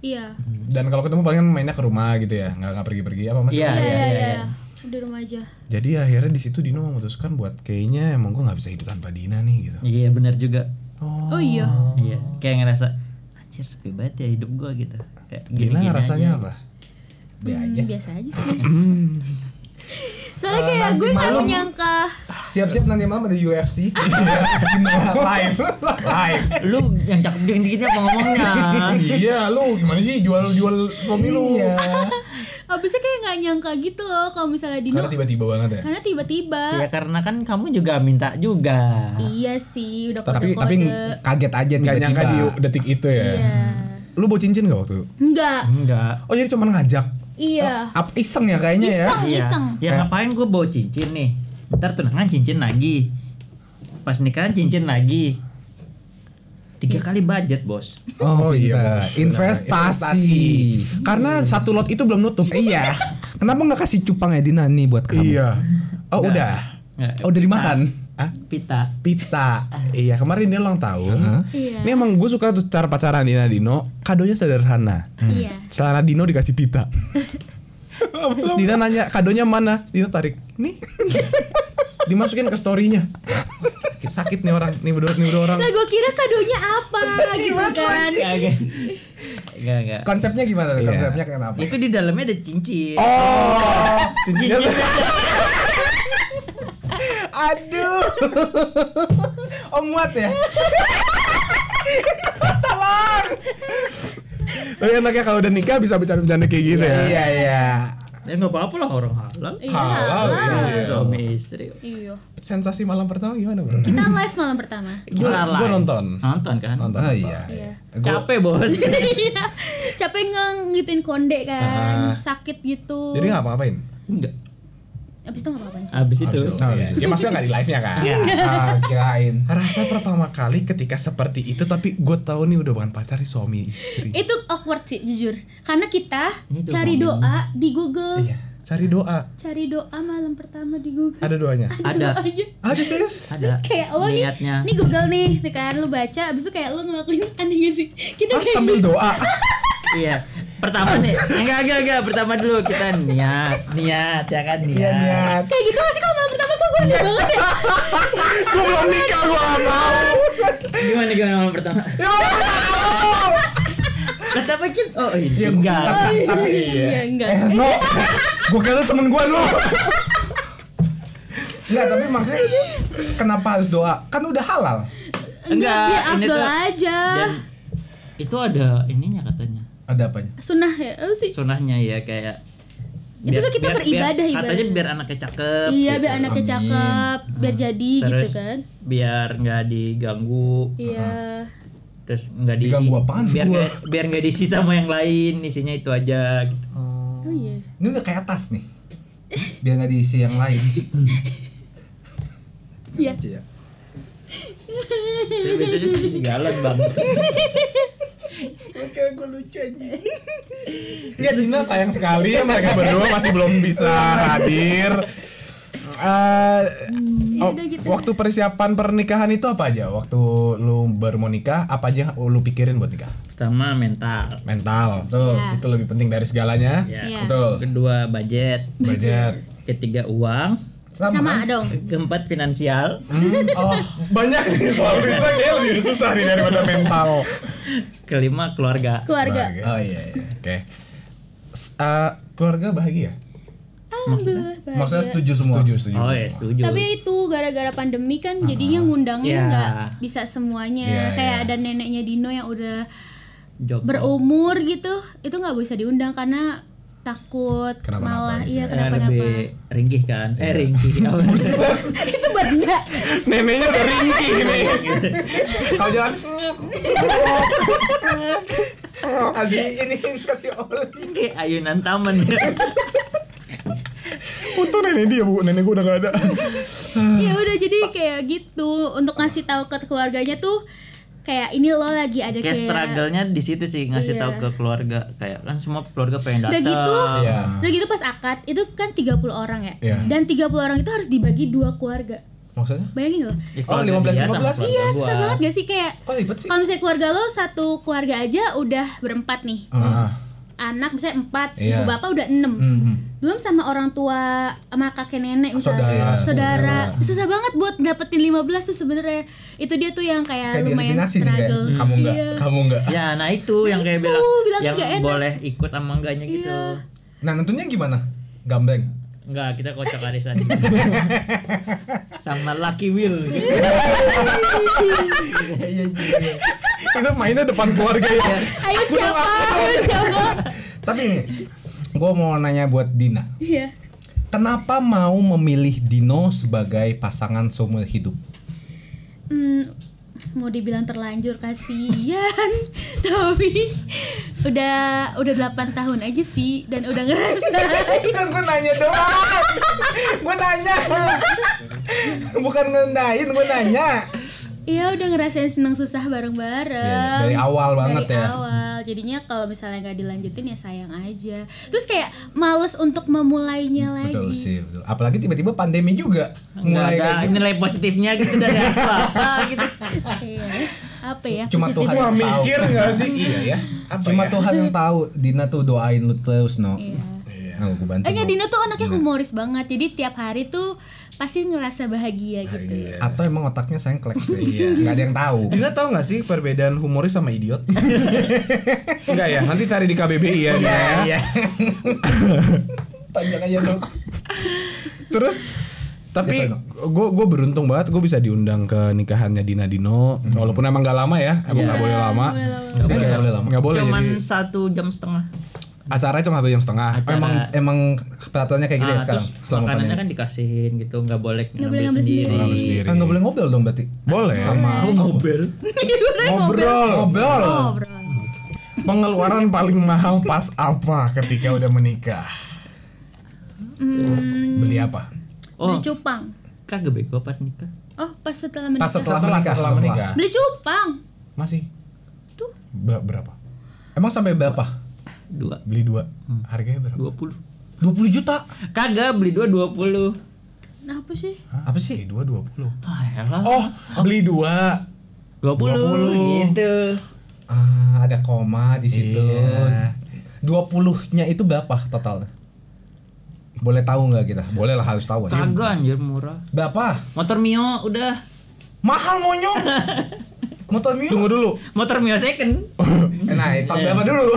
B: Iya.
C: Dan kalau ketemu palingan mainnya ke rumah gitu ya, nggak nggak pergi-pergi apa mas?
A: iya iya
B: Iya, iya, iya. Udah rumah aja.
C: Jadi akhirnya di situ Dino memutuskan buat kayaknya emang gue nggak bisa hidup tanpa Dina nih gitu.
A: iya benar juga
B: Oh, iya.
A: Iya, kayak ngerasa anjir sepi banget ya hidup gua gitu. Kayak gini,
C: Dina
A: -gini
C: rasanya
A: aja.
C: apa?
B: Hmm, biasa aja sih. Soalnya kayak gue gak menyangka
D: Siap-siap nanti malam ada UFC. live. Live.
A: Lu yang cakep dikit dikitnya apa ngomongnya?
C: iya, lu gimana sih jual-jual suami lu?
D: Iya.
B: Abisnya kayak gak nyangka gitu loh Kalau misalnya Dino
C: Karena tiba-tiba banget ya.
B: Karena tiba-tiba
A: ya karena kan kamu juga minta juga.
B: Iya sih Udah
D: Tapi tapi
B: kode-kode
D: kaget aja
C: Gak nyangka di
D: tiba-tiba.
C: detik itu ya.
B: Iya.
C: Lu bawa cincin gak waktu itu?
B: Enggak
A: Enggak.
C: Oh jadi cuma ngajak.
B: Iya
D: Up iseng ya kayaknya ya.
B: Iseng
A: Iya.
B: iseng
A: Ya ngapain gua bawa cincin nih? Ntar tunangan cincin lagi. Pas nikahan cincin lagi. Tiga kali budget, Bos.
D: Oh,
C: benar.
D: iya. Investasi.
C: Karena satu lot itu belum nutup.
D: iya. Kenapa nggak kasih cupang ya Dina nih buat kamu?
C: Iya. Oh udah.
A: Nggak, eh,
D: Oh, udah dimakan.
C: Hah?
A: pita.
C: Pizza. Iya, kemarin dia ulang tahun.
B: Iya.
C: Ini emang gue suka tuh cara pacaran Dina Dino. Kadonya sederhana.
B: Iya
C: Celana Dino dikasih pita. Terus Dina nanya kadonya mana? Terus Dina tarik. Nih. Dimasukin ke storynya. Sakit, sakit nih orang. Nih berdua nih berdua orang.
B: Lah gue kira kadonya apa gitu kan
A: Enggak, enggak. Enggak, enggak.
D: Konsepnya gimana?
C: Iya.
D: Konsepnya kenapa?
A: Itu di dalamnya ada cincin.
C: Cincinnya
D: Aduh. oh muat ya?
C: Tapi enaknya kalau udah nikah bisa bercanda-bercanda kayak gitu ya.
D: Iya iya.
A: Ya nggak apa-apa lah orang halal.
B: Iya
A: Suami istri.
B: Iya
C: Sensasi malam pertama gimana, Bro?
B: Kita live malam pertama
C: Gua-
A: live.
C: gua nonton.
A: Nonton kan?
C: Nonton.
D: Oh iya.
B: Iya
A: Capek bos.
B: Iya Capek ngegituin konde kan Sakit gitu
C: Jadi ngapa-ngapain?
A: Enggak.
B: Abis itu gak apa-apa sih
A: Abis itu.
C: Oh, iya. Ya maksudnya nggak di live-nya kan?
D: Ah, kirain.
C: Rasa pertama kali ketika seperti itu tapi gue tahu nih udah bukan pacar nih suami istri.
B: Itu awkward sih jujur Karena kita
A: Ini tuh
B: cari doa di Google
C: Iya. Cari doa.
B: Cari doa malam pertama di Google
C: Ada doanya.
A: Ada.
B: Doanya.
C: Ada serius?
A: Ada.
B: Terus kayak lo nih,
A: Niatnya.
B: nih Google nih, nih kan lu baca, abis itu kayak lo ngelakuin aneh gak sih? Kita kayak
D: Ah,
B: gitu,
D: Sambil doa.
A: Iya. Pertama nih. Enggak enggak enggak. Pertama dulu kita niat, niat ya kan niat.
D: Iya, niat.
B: kayak gitu masih kalau malam pertama tuh gue aneh banget ya
C: Gue belum nikah, gue gak mau.
A: Gimana gimana malam pertama? Kata apa Cip? Oh iya, enggak.
D: Tapi
B: Iya,
D: iya.
B: enggak.
D: Eh, no.
C: Gue kira temen gue lu.
D: Enggak, tapi maksudnya kenapa harus doa? Kan udah halal.
B: Enggak,
A: Enggak,
B: biar
A: ini
B: afdol
A: tuh-
B: aja
A: Dan itu ada ininya katanya.
D: Ada apanya?
B: Sunnah ya, apa sih?
A: Sunahnya ya kayak
B: Itu kan kita beribadah,
A: biar, katanya
B: ibadah.
A: biar anaknya cakep
B: Iya,
A: gitu.
B: biar anaknya
D: Amin.
B: cakep, biar jadi gitu
A: Terus
B: kan
A: biar nggak diganggu
B: Iya
A: terus nggak diisi
D: Diganggu apaan
A: biar
D: gua?
A: nggak- biar nggak diisi sama yang lain isinya itu aja gitu.
B: Oh iya
D: Ini udah kayak tas nih. Biar nggak diisi yang lain.
B: Iya
D: Lucu ya.
A: Saya biasanya sih segalan bang
D: Oke, gue lucu aja.
C: Iya Dina sayang sekali mereka berdua masih belum bisa hadir. Eh, oh,
B: udah gitu.
C: waktu persiapan pernikahan itu apa aja? Waktu lu baru mau nikah, apa aja yang lu pikirin buat nikah?
A: pertama mental
C: Mental, tuh
B: Iya.
C: itu lebih penting dari segalanya.
A: ya
B: Iya.
C: Betul.
A: kedua budget
C: Budget.
A: ketiga uang
B: Sama dong
A: keempat finansial
C: Oh, banyak nih soal kita kayaknya lebih susah nih daripada mental.
A: kelima keluarga
B: Keluarga
C: Bahagia.
D: Oh iya. iya.
C: Oke. S- eh, keluarga bahagia?
B: Alhamdulillah
D: Maksudnya
B: bahagia.
D: setuju semua.
C: Setuju, setuju.
A: oh ya setuju
B: Tapi itu gara-gara pandemi kan jadinya ngundangnya
A: Iya.
B: nggak bisa semuanya.
C: Iya,
B: Kayak
C: iya.
B: ada neneknya Dino yang udah
A: Job.
B: berumur gitu, itu nggak bisa diundang karena takut
C: Kenapa-napa
B: malah
C: gitu
B: iya
A: Eh,
B: kenapa-napa.
A: lebih ringkih kan eh ringkih apa sih?
B: itu benda.
C: Neneknya udah ringkih nih. Kalau jalan
D: Adi ini kasih oli.
A: kayak ayunan taman
B: Iya,
C: Untung nenek dia bu, nenek gue udah gak ada
B: ya udah jadi kayak gitu untuk ngasih tahu ke keluarganya tuh kayak ini lo lagi ada
A: kayak
B: kayak
A: struggle-nya di situ sih ngasih
B: Iya.
A: tahu ke keluarga kayak kan semua keluarga pengen
B: Udah
A: datang
B: gitu,
C: Iya.
B: udah gitu pas akad itu kan 30 orang ya.
C: Iya.
B: Dan 30 orang itu harus dibagi dua keluarga.
D: Maksudnya?
B: Bayangin loh.
A: Ya,
D: Oh,
A: keluarga dia sama
D: 15-15?
A: keluarga
B: Iya,
A: gua.
B: susah banget gak sih kayak
D: Kok ribet sih?
B: Kalau misalnya keluarga lo satu keluarga aja udah berempat nih. Anak misalnya empat,
C: Iya.
B: ibu bapak udah enam.
D: Hmm.
C: Hmm,
B: Belum sama orang tua, sama kakek nenek misalnya.
D: Saudara.
B: Saudara. Susah banget buat dapetin 15 tuh sebenarnya. Itu dia tuh yang kayak,
D: Kayak
B: lumayan
D: dieliminasi nih kayak.
B: struggle.
D: Kamu enggak,
B: Iya.
D: kamu enggak.
A: ya nah itu yang kayak
B: itu,
A: bilang,
B: bilang
A: yang
B: nggak enak. Iya.
A: boleh ikut sama enggaknya gitu
D: Nah, nentunya gimana? Gambeng.
A: enggak kita kocok arisan sama Lucky Will
D: Iya, iya.
C: Itu mainnya depan keluarga ya
B: Ayo siapa? Ayo siapa?
D: Tapi ini gue mau nanya buat Dina.
B: Iya.
D: Kenapa mau memilih Dino sebagai pasangan seumur hidup?
B: Hmm, mau dibilang terlanjur kasihan tapi udah udah 8 tahun aja sih dan udah ngerasain
D: Kan gue nanya doang. gue nanya. Bukan ngendain, gue nanya.
B: Iya udah ngerasain senang susah bareng-bareng
D: Iya, dari awal banget
B: Dari
D: ya.
B: awal Jadinya kalau misalnya nggak dilanjutin ya sayang aja Terus kayak males untuk memulainya lagi
D: Betul sih, betul. Apalagi tiba-tiba pandemi juga.
A: enggak
D: Mulai
A: ada
D: kayak gitu.
A: nilai positifnya gitu dari apa gitu
B: Iya. Apa ya
D: Cuma Tuhan
B: positifnya?
D: yang tahu.
C: mikir nggak sih?
D: Iya ya. Cuma Tuhan yang tahu. Dina tuh doain lu terus, no.
B: Iya.
D: Iya. Nah, gue bantu.
B: Eh nggak,
D: no.
B: Dino tuh
D: Iya.
B: anaknya humoris banget Jadi tiap hari tuh pasti ngerasa bahagia gitu
D: Atau emang otaknya sengklek? Iya. Gak ada yang tahu.
C: Iya. Dina tahu nggak sih perbedaan humoris sama idiot? Enggak ya, nanti cari di KBBI ya Dina ya.
D: Tanya aja dong.
C: Terus tapi
D: Biasa dong.
C: gue gue beruntung banget gue bisa diundang ke nikahannya Dina Dino walaupun emang gak lama ya emang nggak boleh lama
D: Gak boleh lama.
C: Mhm. nggak boleh
A: cuman
C: jadi
A: satu jam setengah
C: acaranya cuma satu jam setengah
A: Acara.
D: Emang emang peraturannya kayak gitu ya
A: Ah,
D: sekarang
A: terus
D: selama
A: makanannya
D: pandemi.
A: kan dikasihin gitu nggak boleh ngambil
B: ngambil
A: sendiri,
C: Orang sendiri
D: Kan nggak boleh ngobrol dong berarti.
C: boleh
A: Aku mobil
C: ngobrol
D: Ngobrol.
B: Ngobrol
C: pengeluaran paling mahal pas apa ketika udah menikah
B: hmm,
C: beli apa
A: oh
B: Beli cupang
A: kagak bego pas nikah
B: Oh pas setelah menikah
D: Pas setelah menikah,
C: setelah
D: setelah.
C: menikah
B: Beli cupang
C: masih
B: Tuh.
C: Ber- berapa
D: Emang sampai berapa?
A: dua
C: beli dua harganya berapa
A: dua puluh
D: 20 Hmm. juta.
A: kagak beli dua dua puluh
B: Nah apa sih?
C: apa sih beli dua dua puluh
A: ah elah
C: oh beli dua
A: dua puluh
C: 20.
A: gitu
D: Ah, ada koma di situ.
C: Iya.
D: 20-nya itu berapa totalnya? Boleh tahu nggak kita? Boleh lah harus tahu aja.
A: Kagak anjir murah.
D: Berapa?
A: Motor Mio udah.
D: Mahal monyong. Motor Mio.
C: Tunggu dulu.
A: Motor Mio second.
D: Eh, Nah, tahun berapa dulu?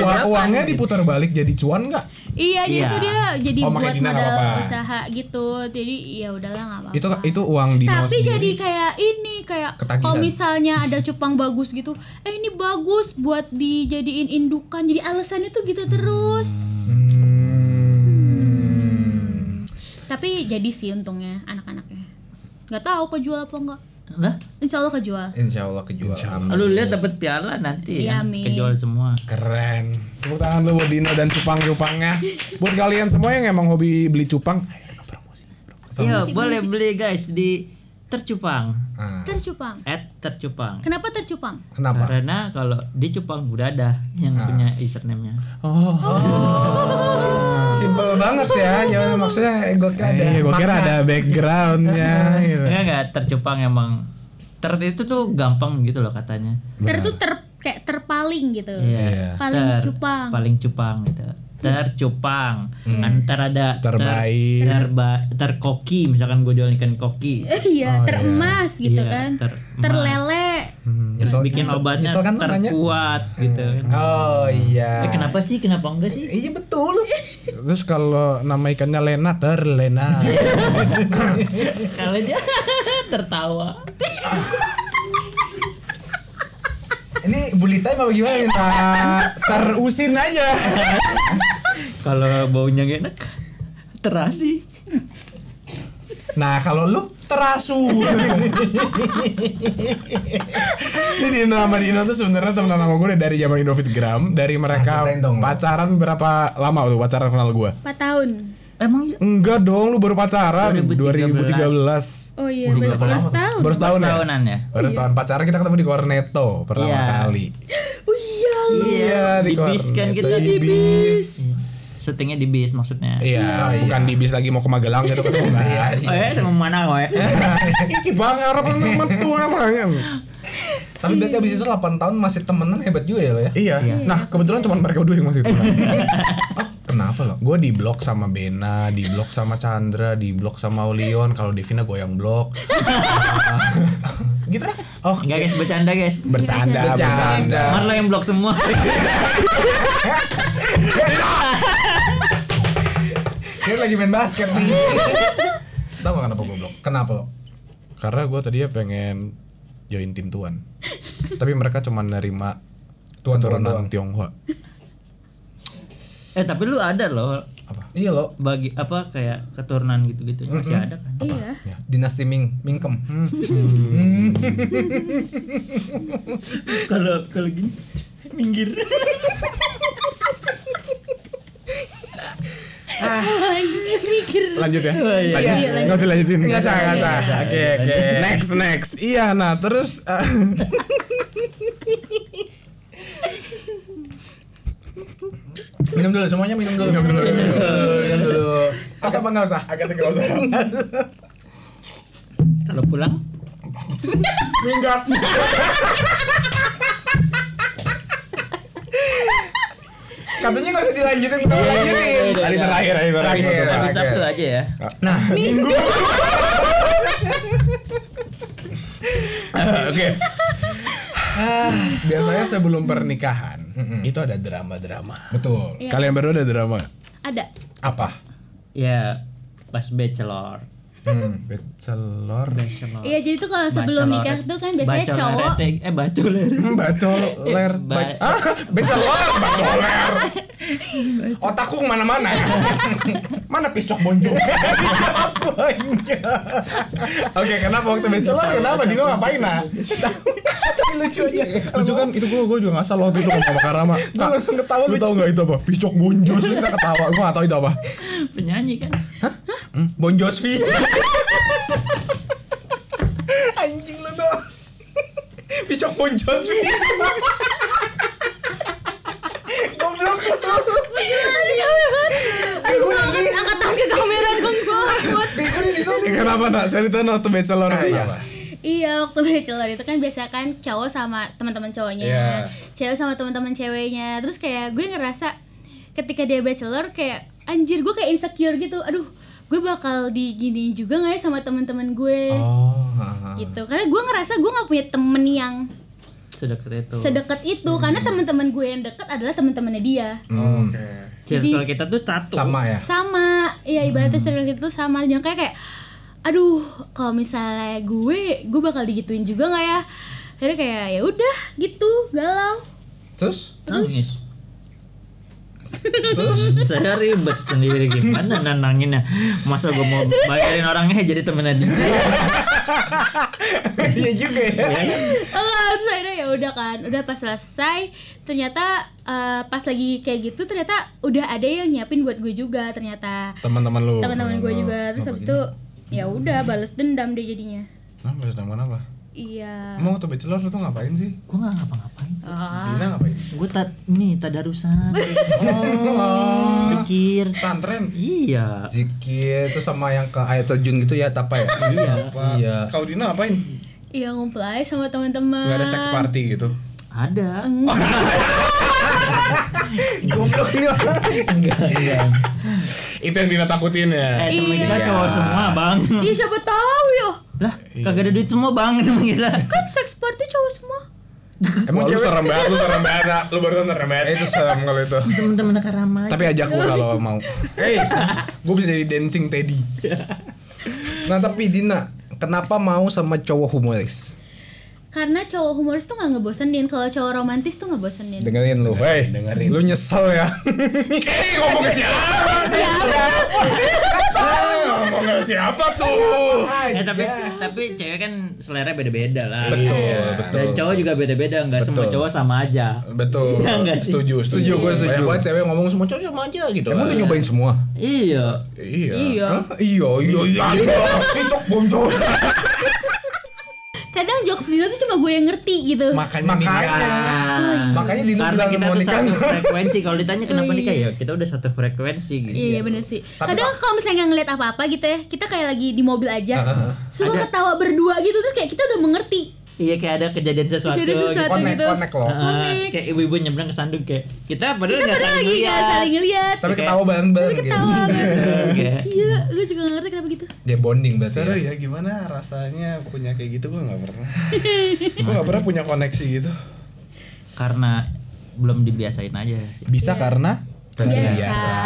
C: Uang- uangnya diputar balik jadi cuan nggak?
B: Iya, jadi
A: Iya.
B: itu dia jadi
C: Oh,
B: buat
C: pakai Dina nggak
B: modal
C: apa-apa.
B: usaha gitu. Jadi ya udahlah nggak apa-apa.
C: Itu itu uang Dino
B: Tapi
C: sendiri.
B: jadi kayak ini kayak
D: Ketagihan.
B: kalau misalnya ada cupang bagus gitu, eh ini bagus buat dijadiin indukan. Jadi alasannya tuh gitu terus.
C: Hmm.
B: Tapi jadi sih untungnya anak-anaknya. Nggak tahu kejual apa enggak.
A: Lah,
B: Insya Allah kejual.
C: Iya.
D: Insya Allah kejual. Amin.
A: lu lihat dapat piala nanti
B: Iya,
A: kan
B: Mi.
A: kejual semua.
C: Keren.
H: Tepuk tangan lu buat Dino dan cupang-cupangnya. buat kalian semua yang emang hobi beli cupang, ayo dong promosi.
A: Iya, boleh beli guys di Tercupang.
D: Ah,
B: Tercupang.
A: At Tercupang.
B: Kenapa tercupang?
D: Kenapa?
C: Ah.
A: Karena kalau di Cupang udah ada yang punya username-nya.
D: Simple banget ya. Jangan maksudnya gue kira ada.
C: Iya, gue kira ada backgroundnya. gitu.
A: Enggak enggak Tercupang emang ter itu tuh gampang gitu loh katanya.
B: Ter tuh ter kayak terpaling gitu.
A: Iya.
B: Paling
A: Ter-
B: cupang.
A: Paling cupang gitu. Tercupang. Antar ada ter-
C: Terbaik.
A: terba- terkoki misalkan gue jual ikan koki.
B: Iya, teremas gitu
A: Iya,
B: kan.
A: teremas.
B: Terlele.
A: Terus bikin obatnya
D: nyesel kan lu nanya?
A: terkuat gitu. kan.
D: Oh
A: Eh,
D: iya.
A: kenapa sih? Kenapa enggak sih?
D: Iya betul.
C: Terus kalau nama ikannya eh? Lena, terlena.
A: Kalau dia tertawa.
D: Ini bully time apa gimana nih?
C: Terusin aja.
A: Kalau baunya nggak enak, terasi.
C: Nah, kalau lu terasu. Ini Dino sama Dino tuh sebenarnya temenan sama gue udah dari zaman Indofit Gram, dari mereka
D: Ceritain dong, lu.
C: pacaran berapa lama tuh pacaran kenal gue?
B: 4 tahun.
A: Emang iya.
C: Enggak dong, lu baru pacaran
A: 2013.
C: 2013.
B: Oh iya, baru belas tahun.
C: Baru setahun ya?
A: Tahunan ya.
C: Baru setahun pacaran kita ketemu di Cornetto pertama
A: Iya.
C: kali.
B: Oh iya.
A: Iya, di bis
C: Cornetto.
A: kan kita
C: di bis.
A: Syutingnya di bis maksudnya.
C: Iya, bukan di bis lagi mau ke Magelang gitu kan enggak.
A: Nah, Oh ya, sama mana kok ya?
C: Ih, Bang Arab temen tuh namanya.
D: Tapi berarti abis itu 8 tahun masih temenan hebat juga ya lo ya?
C: Iya. Nah, kebetulan cuma mereka berdua yang masih itu.
D: Oh, kenapa lo?
C: Gue di blok sama Bena, di blok sama Chandra, di blok sama Olion. Kalau Devina gue yang blok. gitu lah. Oh,
A: Enggak guys, bercanda guys.
C: bercanda, bercanda.
A: Mar lo yang blok semua.
D: Dia lagi main basket nih.
C: Tahu gak kenapa gue blok?
D: Kenapa lo?
C: Karena gue tadinya pengen join tim Tuan. Tapi mereka cuma nerima
D: Tuan
C: keturunan Tionghoa.
A: eh tapi lu ada loh
D: Iya lo.
A: bagi apa kayak keturunan gitu-gitu masih ada kan?
B: Iya.
D: Ya. Dinasti Ming Mingkem.
C: Hmm.
A: Kalau kalau gini minggir.
B: Mikir.
C: Lanjut ya.
D: Oh,
A: iya.
C: Lanjut.
B: Iya, lanjut.
C: Nggak usah lanjutin.
D: Nggak usah, nggak usah.
C: Oke, oke. Next, next. Iya, nah terus eh,
D: Minum dulu semuanya minum dulu. Minum dulu. Minum dulu. Pas apa enggak usah? Agak enggak usah.
A: Kalau pulang
C: minggat.
D: Katanya enggak usah dilanjutin, kita lanjutin.
A: Udah,
C: Hari
A: udah.
C: terakhir, hari terakhir.
D: Terakhir,
A: hari
D: Oke.
A: Sabtu aja ya.
C: Nah, minggu. Eh, Oke. Ah, Biasanya sebelum pernikahan itu ada drama-drama.
D: Betul.
B: Iya.
C: Kalian berdua ada drama?
B: Ada.
D: Apa?
A: Ya pas bachelor.
D: Hmm.
C: Bachelor.
A: Bachelor.
B: Iya, jadi tuh kalau sebelum
A: Bachelor.
B: nikah tuh kan biasanya
A: Bachelorette.
B: cowok
A: eh bacoler.
C: Bacoler.
A: Ba-
C: Ba- ah, Bachelor, bacoler.
D: Otakku kemana mana
C: ya. Mana pisok bonjol? Oke, kenapa waktu bachelor? Kenapa Dino ngapain nah?
D: Tapi lucu aja.
C: Lucu kan itu gue gue juga nggak salah waktu itu ngomong sama Karama. Gue
D: langsung ketawa
C: Lu
D: lucu.
C: tau nggak itu apa? Pisok bonjol. Terus Kita ketawa. Gue nggak tahu itu apa.
A: Penyanyi kan.
D: Bon Jovi. Anjing lu dong. Pisok Bon Jovi. Goblok.
B: Aduh, gue Iya, angkat tangan ke kamera dong gue
C: Kenapa nak cerita waktu bachelor
D: Ah,
C: kenapa?
B: Iya waktu bachelor itu kan biasa kan cowok sama teman-teman cowoknya,
D: Iya.
B: cewek sama teman-teman ceweknya. Terus kayak gue ngerasa ketika dia bachelor kayak anjir gue kayak insecure gitu aduh gue bakal diginiin juga nggak ya sama teman-teman gue
D: Oh, haha.
B: gitu karena gue ngerasa gue nggak punya temen yang
A: sedekat itu
B: sedekat itu karena
D: Hmm.
B: teman-teman gue yang deket adalah teman-temannya dia
D: Oh, Oke.
A: circle kita tuh satu
D: Sama ya.
B: sama ya ibaratnya
C: Hmm.
B: circle kita tuh sama jangan kayak kayak aduh kalau misalnya gue gue bakal digituin juga nggak ya akhirnya kayak ya udah gitu galau
D: Terus?
A: nangis
D: Terus?
A: saya ribet sendiri gimana nananginnya masa gue mau bayarin orangnya jadi temennya dia
D: Iya juga ya.
A: kan?
B: Enggak, terus akhirnya ya udah kan udah pas selesai ternyata eh, pas lagi kayak gitu ternyata udah ada yang nyiapin buat gue juga ternyata
C: Teman-teman lu.
B: teman-teman gue juga terus habis itu ya udah balas dendam deh jadinya
C: Nah, bahas nama apa?
B: iya
C: Emang waktu bachelor lu tuh ngapain sih?
A: gue nggak ngapa-ngapain
B: Ah.
C: Dina ngapain?
A: gue tak nih tadarusan
D: Oh.
A: pikir
C: Santren.
A: iya
D: Zikir itu sama yang ke air terjun gitu ya, tapa ya? Iya. Iya.
C: Kau Dina ngapain?
B: iya ngumpul aja sama teman-teman
C: Gak ada sex party gitu.
A: ada
D: Goblok ini
C: iya.
D: orang.
C: Itu yang Dina takutin ya.
A: eh
B: Iya.
A: temen kita cowok semua bang
B: Ih siapa tahu ya
A: lah kagak ada duit semua bang temen kita
B: kan sex party cowok semua
C: Emang lu serem banget, lu serem banget, Nak. lu barusan serem banget.
D: Itu serem kalau itu.
A: temen-temen karama
C: Tapi ajak gua kalau mau. Eh, gua bisa jadi dancing Teddy.
D: Nah, tapi Dina, kenapa mau sama cowok humoris?
B: karena cowok humoris tuh nggak ngebosenin kalau cowok romantis tuh nggak bosenin
D: Dengerin lu, hei.
C: dengerin.
D: Lu nyesel ya.
C: Eh, ngomong ke siapa?
D: Eh,
C: Ah, Ngomong ke siapa tuh?
A: Eh, tapi
D: Iya.
C: Ya.
A: tapi cewek kan selera beda-beda lah. Iya.
C: Betul,
A: Dan cowok juga beda-beda, nggak semua cowok sama aja.
C: Betul.
A: Iya nggak sih?
C: Setuju,
D: Setuju, gua setuju.
C: Banyak banget cewek ngomong semua cowok sama aja gitu.
D: Emang udah nyobain semua?
A: Iya.
C: Iya.
B: iya
D: Hah? Iya, iya, iya. iya. Besok bom cowok.
B: kadang jokes dia tuh cuma gue yang ngerti gitu
C: Makanya,
D: Makanya.
A: Nah,
D: Makanya Dino
A: karena
D: bilang
A: kita
D: mau
A: tuh
D: nikah.
A: satu frekuensi. Kalau ditanya kenapa
B: Oh, iya.
A: nikah ya, kita udah satu frekuensi gitu.
B: Iya, iya bener sih. Kadang kalau misalnya nggak ngeliat apa-apa gitu ya, kita kayak lagi di mobil aja, suka
A: Ada-
B: ketawa berdua gitu terus kayak kita udah mengerti.
A: Iya kayak ada kejadian sesuatu.
B: Kejadian sesuatu.
A: Gitu.
D: Connect,
B: Gitu.
D: connect loh.
A: Heeh, kayak ibu-ibu nyebrang ke sanduk kayak kita padahal nggak
B: Padahal
A: saling
B: lagi nggak
A: lihat.
B: saling ngeliat.
D: Tapi ketawa bareng-bareng
B: Tapi
D: gitu.
B: ketawa banget.
A: Kayak,
B: Iya, gue juga nggak ngerti kenapa gitu.
D: Dia bonding berarti.
C: Seru
D: ya.
C: ya gimana rasanya punya kayak gitu gua nggak pernah. gua nggak pernah punya koneksi gitu.
A: karena belum dibiasain aja sih. ya,
C: Bisa karena
B: Biasa.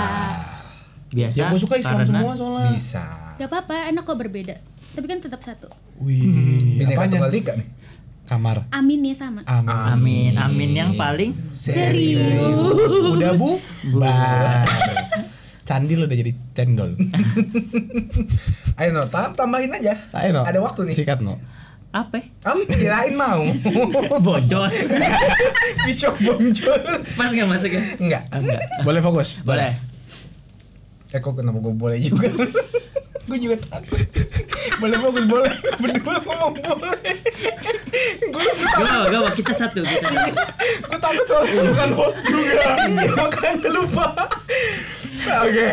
A: Biasa.
C: ya gua suka Islam
A: karena-
C: semua soalnya.
D: Bisa.
B: Gak apa-apa, enak kok berbeda. Tapi kan tetap satu.
A: Hmm.
C: Wih,
D: Bineka
C: apanya?
D: tunggal ika nih.
C: Kamar.
B: Aminnya ya sama.
C: Amin.
A: Amin, amin yang paling
C: Serius. Udah bu? Bar. Candil udah jadi cendol.
D: Ayo no, tam- tambahin aja.
C: Ayo, no.
D: Ada waktu nih.
C: Sikat no.
A: apa? ya?
D: Am, kirain mau.
A: Bodos.
D: Bishop Bonjol.
A: Pas nggak masuk ya?
D: Enggak.
A: Enggak.
C: Boleh fokus.
A: Boleh.
D: Eh kok kenapa gue boleh juga? gue juga takut. boleh fokus boleh. Berdua ngomong boleh.
A: Gak apa gak apa kita satu kita. satu.
D: Gue takut soalnya lu bukan host juga. Iya makanya lupa.
C: Oke,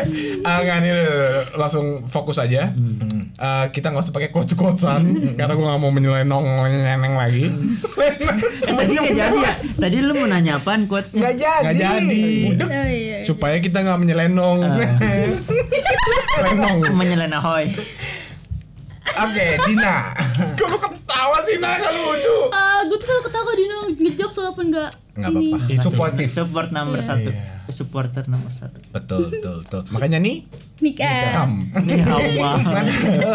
C: Ah, nggak, nih, nih, nih, langsung fokus aja.
D: Hmm.
C: Ah, kita nggak usah pakai coach-coachan karena gue nggak mau menyelain neng lagi.
A: Eh, tadi nggak jadi ya? Tadi lu mau nanya apaan quotesnya?
D: Enggak jadi.
C: Nggak jadi.
D: Budek.
B: Oh, iya.
C: Supaya kita nggak menyelenong.
D: Ah.
C: Lenong.
A: Menyelena hoy.
D: Oke, Dina.
C: Kok lu ketawa sih nah kalau lucu?
B: Ah, gue tuh selalu ketawa kalau Dino ngejok walaupun nggak
D: Enggak apa-apa.
B: ini.
D: Supportif.
A: Support nomor satu. Supporter nomor satu.
D: Betul, betul, betul.
C: Makanya nih
B: Nikah.
A: Ini hawa.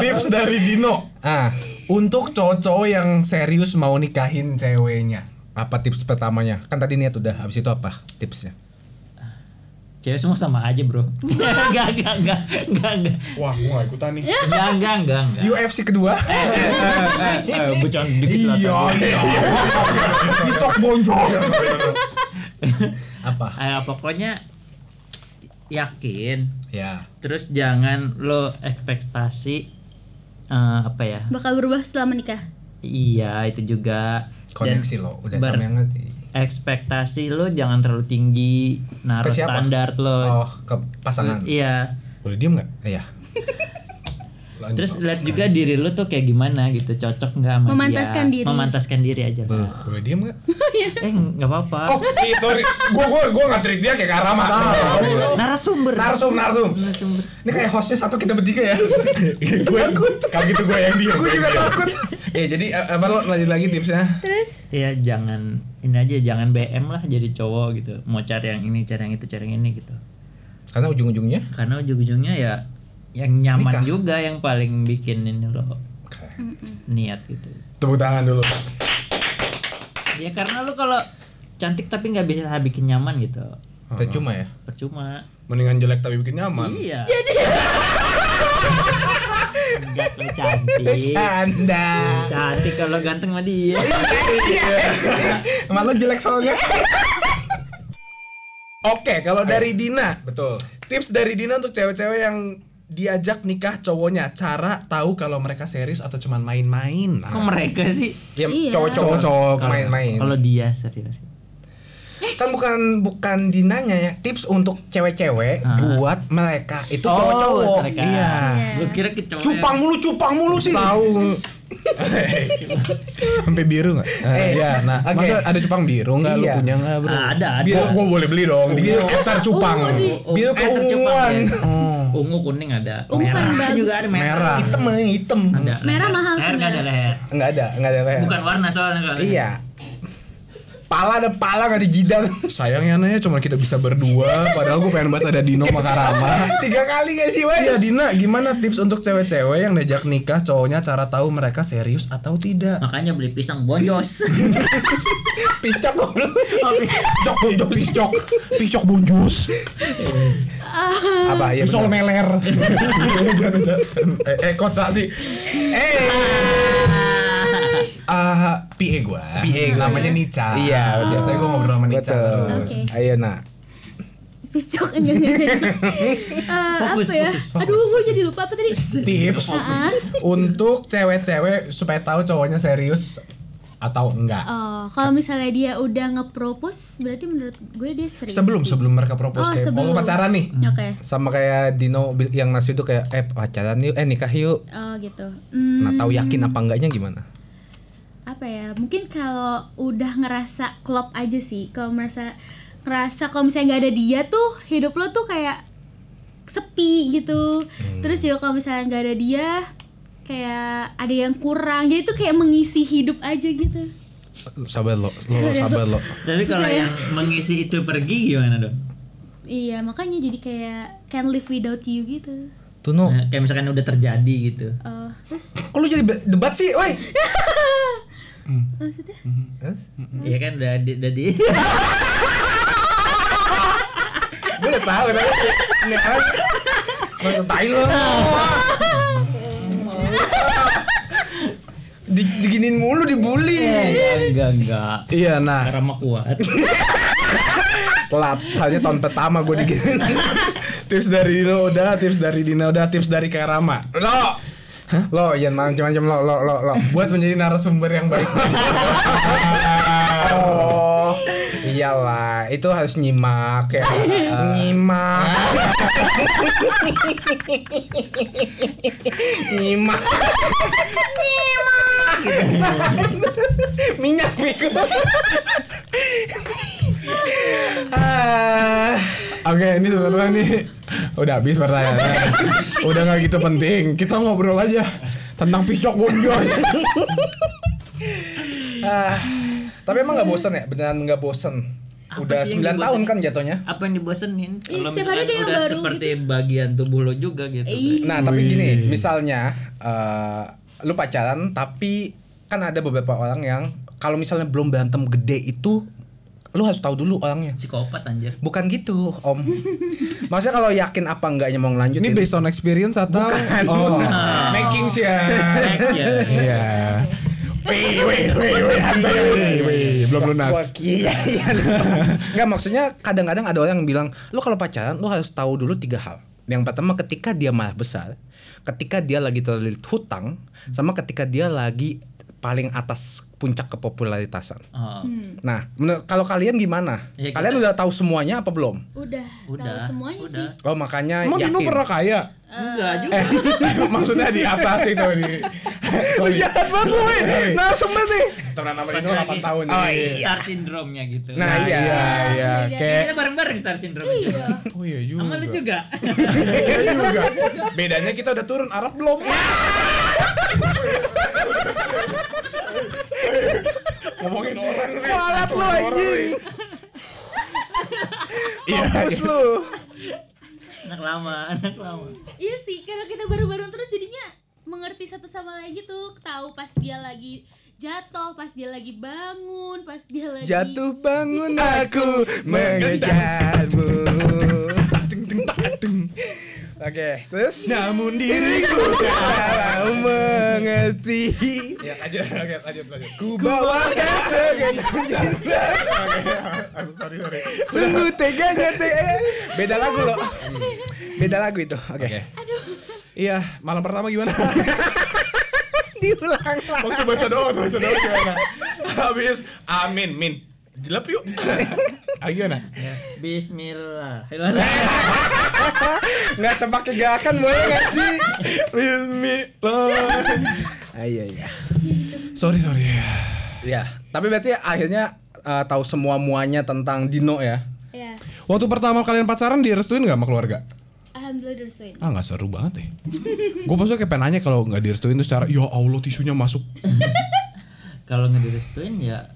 C: tips dari Dino
D: Ah,
C: untuk cowok-cowok yang serius mau nikahin ceweknya.
D: apa tips pertamanya? Kan tadi niat udah, habis itu apa tipsnya?
A: Cewek semua sama aja bro. Gak gak gak gak gak
C: Wah, gue nggak ikutan nih.
A: gak gak gak.
D: UFC kedua. Eh,
A: eh, Bukan dikit lah.
C: Iya,
A: tadi.
C: iya. Besok boncol. iya.
D: apa?
A: Eh, pokoknya yakin.
D: Ya.
A: Terus jangan lo ekspektasi eh, apa ya?
B: Bakal berubah setelah menikah.
A: Iya itu juga. Dan
D: koneksi lo udah
A: ber-
D: sama yang ngerti
A: ekspektasi lo jangan terlalu tinggi naruh
D: Ke siapa?
A: standar lo
D: oh ke pasangan
A: iya
C: Boleh diem nggak?
D: iya
A: Terus lihat juga diri lu tuh kayak gimana gitu, cocok nggak sama dia.
B: Memantaskan diri.
A: Memantaskan diri aja. lah.
D: Boleh diem gak?
A: Eh nggak apa-apa.
D: Oh, iya sorry. Gua gua gua enggak trik dia kayak Karama.
A: Narasumber.
D: Narsum, narsum. Ini kayak hostnya satu kita bertiga ya. gue takut. Kalau gitu gue yang dia. Gue juga takut. Ya jadi a- apa lo lanjut lagi tipsnya?
B: Terus
A: Iya jangan ini aja jangan BM lah jadi cowok gitu. Mau cari yang ini, cari yang itu, cari yang ini gitu.
D: Karena ujung-ujungnya.
A: Karena ujung-ujungnya ya yang nyaman
D: Nikah.
A: juga yang paling bikin ini lo niat gitu.
H: Tepuk tangan dulu.
A: Ya karena lu kalau cantik tapi nggak bisa bikin nyaman gitu.
D: Percuma ya.
A: Percuma.
H: Mendingan jelek tapi bikin nyaman.
A: Iya. Jadi Enggak lo cantik.
D: Iya. Anda.
A: Cantik kalau ganteng mah dia.
D: Emang lo jelek soalnya.
C: Oke, kalau dari Dina,
D: Betul.
C: tips dari Dina untuk cewek-cewek yang diajak nikah cowoknya, cara tahu kalau mereka serius atau cuman main-main.
A: Kok mereka sih?
D: Ya,
B: Iya.
D: cowok-cowok cowok
A: Kalau-
D: main-main.
A: Kalau dia serius.
D: Kan bukan bukan dinanya ya. Tips untuk cewek-cewek
A: Ah. Oh,
D: buat mereka itu cowok-cowok.
A: mereka.
D: Iya.
A: Gua kira ke cowok.
D: Cupang mulu, cupang mulu sih. Tahu.
C: Sampai biru nggak?
D: Eh,
C: Eh, iya. Nah,
D: oke.
C: masa ada cupang biru nggak? Lu
D: Iya.
C: punya nggak, bro?
A: Ah, ada, ada.
C: Biru, gua boleh beli dong. Di
D: Biru.
C: hektar cupang.
B: Ungu sih.
A: Oh,
D: Biru
A: eh, tercupang
D: keunguan. Hmm.
A: ya. Ungu kuning ada.
B: Ungu paling
A: merah
B: bagus.
A: juga ada merah.
D: Hitam, eh, hitam.
A: Ada.
B: Merah mahal
A: Leher
B: sih,
A: nggak ada
B: merah.
A: leher.
D: Enggak ada, enggak ada leher.
A: Bukan warna soalnya kalau.
D: Iya. Pala ada pala enggak ada jidat.
C: Sayangnya nanya cuma kita bisa berdua. Padahal gue pengen banget ada Dino sama Karama.
D: Tiga kali gak sih, Wai?
C: Iya Dina, gimana tips untuk cewek-cewek yang diajak nikah cowoknya cara tahu mereka serius atau tidak?
A: Makanya beli pisang bonjos.
D: Picok Ah, goblok.
C: Oh, Picok bonjus, picok, picok bonjus,
D: Apa ya?
C: pisau
D: benar.
C: meler.
D: Eh, eh kocak sih. Eh.
C: Ah, PA gua. ya.
D: PA gua.
C: Namanya Nica.
D: Iya, betul.
C: biasanya gua ngobrol sama Nica.
D: Betul.
C: terus.
B: Oke.
D: Ayo, Nak.
B: piscok enggak enggak, enggak. Eh,
A: Fokus,
B: apa ya? Aduh, gue jadi lupa apa tadi?
C: Tips
B: Ah,
C: untuk cewek-cewek supaya tahu cowoknya serius atau enggak.
B: Oh, kalau misalnya dia udah nge-propose, berarti menurut gue dia serius.
C: Sebelum
B: sih.
C: sebelum mereka
B: Oh,
C: propose kayak mau
B: sebelum.
C: pacaran nih.
B: Oke.
D: Sama kayak Dino bil- yang nasi itu kayak eh pacaran yuk, eh nikah yuk.
B: Oh, gitu. Hmm,
D: Nah, tahu yakin apa enggaknya gimana?
B: apa ya? Mungkin kalau udah ngerasa klop aja sih. Kalau merasa ngerasa kalau misalnya nggak ada dia tuh hidup lo tuh kayak sepi gitu.
A: Hmm.
B: Terus juga kalau misalnya nggak ada dia kayak ada yang kurang. Jadi tuh kayak mengisi hidup aja gitu.
D: Sabar lo, lo sabar lo.
A: Tapi kalau yang mengisi itu pergi gimana dong?
B: Iya, makanya jadi kayak can't live without you gitu.
C: Eh.
D: Tuno,
A: Nah, kayak misalkan udah terjadi gitu.
B: Oh, terus
D: kok lu jadi be- debat sih, woi?
B: maksudnya
D: Hah?
A: Iya kan udah di, udah di
D: Gue udah tahu tapi ini kan Mau tai lo. Di, diginin mulu dibully.
B: Iya,
A: Eh. enggak enggak.
C: Iya, nah
A: Karena mah kuat.
D: Telat, hanya tahun pertama gue diginin.
C: tips dari Dino udah, tips dari Dina udah, tips dari Karama.
D: lo. Lo, jangan macam-macam lo, lo, lo, lo.
C: Buat menjadi narasumber yang baik.
D: Oh, iyalah, itu harus nyimak ya. nyimak. nyimak. nyimak. Minyak minggu. Ah.
C: Oke, ini sebenarnya nih udah habis pertanyaannya. udah nggak gitu penting. Kita ngobrol aja tentang piscok bonjos.
D: Tapi emang nggak bosen ya? Beneran nggak bosen?
A: Hmm. Apa
D: Udah
A: sih
D: 9
A: yang
D: tahun
A: dibosenin?
D: kan jatuhnya.
A: Apa yang dibosenin?
B: Iya,
A: Kalau
B: setiap
A: misalkan
B: hari ada yang
A: udah
B: baru gitu.
A: seperti bagian tubuh lo juga gitu.
B: Iya.
D: Nah, tapi gini,
C: Wih.
D: misalnya eh, lu pacaran tapi kan ada beberapa orang yang kalau misalnya belum berantem gede itu lu harus tahu dulu orangnya.
A: Psikopat anjir.
D: Bukan gitu, Om. Maksudnya kalau yakin apa enggaknya mau ngelanjutin.
C: ini based on experience atau oh.
D: making sih ya.
A: Cek ya.
C: Iya. Wih, wih, wih, wih, santai, wih, wih, belum lunas.
D: Iya, iya. Enggak maksudnya kadang-kadang ada orang yang bilang, "Lu kalau pacaran lu harus tahu dulu tiga hal." Yang pertama ketika dia marah besar, ketika dia lagi terlilit hutang, sama ketika dia lagi paling atas puncak kepopularitasan.
A: Oh,
B: Hmm,
C: Hmm.
D: Nah, menur- kalau kalian gimana?
A: Ya, kita-
D: kalian udah tahu semuanya apa belum?
B: udah,
A: udah.
B: tahu semuanya
A: udah.
B: sih
D: Oh, makanya
C: Emang
D: yakin.
C: Dino pernah kaya?
A: Enggak juga.
C: Eh, maksudnya di atas itu di. Sorry.
D: banget lu, Iya, weh. Langsung banget nih.
C: Temenan sama
A: Pas
C: Dino
A: lagi
C: 8 tahun.
A: star
C: jadi.
A: Star syndrome-nya gitu.
D: Nah, iya.
C: Oh, iya iya.
B: Iya.
C: Kayak
A: kita bareng-bareng star syndrome juga.
C: Oh iya juga.
A: Sama lu juga.
C: Iya juga. Bedanya kita udah turun Arab belum. Ngomongin orang nih.
D: Kualat lu,
C: Ngomongin orang,
D: anjing.
C: nih. Iya.
D: Terus lu.
A: anak lama, anak lama.
B: Iya sih, karena kita baru-baru terus jadinya mengerti satu sama lain gitu, tahu pas dia lagi jatuh, pas dia lagi bangun, pas dia lagi
D: Jatuh bangun aku mengejarmu. Oke, terus namun diriku kalau mengerti
C: Ya lanjut lanjut lanjut lanjut.
D: ku bawakan segenap cinta.
C: Aku sorry sorry.
D: Sungguh teganya teh. Beda lagu loh. Beda lagu itu. Oke.
C: Iya, malam pertama gimana?
D: Diulang lah.
C: Waktu baca doa, waktu baca doa gimana? Habis amin min. Jelep yuk. Ah gimana?
A: Ya. Bismillah.
D: Nggak sepakai gerakan boleh nggak sih?
C: Bismillah.
D: Ah, iya iya.
C: Sorry sorry.
D: Ya, tapi berarti akhirnya eh, tahu semua muanya tentang Dino ya.
B: Ya,
C: Waktu pertama kalian pacaran direstuin nggak sama keluarga?
B: alhamdulillah direstuin.
C: Ah nggak seru banget ya. Gue maksudnya kayak pengen nanya kalau nggak direstuin tuh secara ya Allah tisunya masuk.
A: Kalau ngedirestuin ya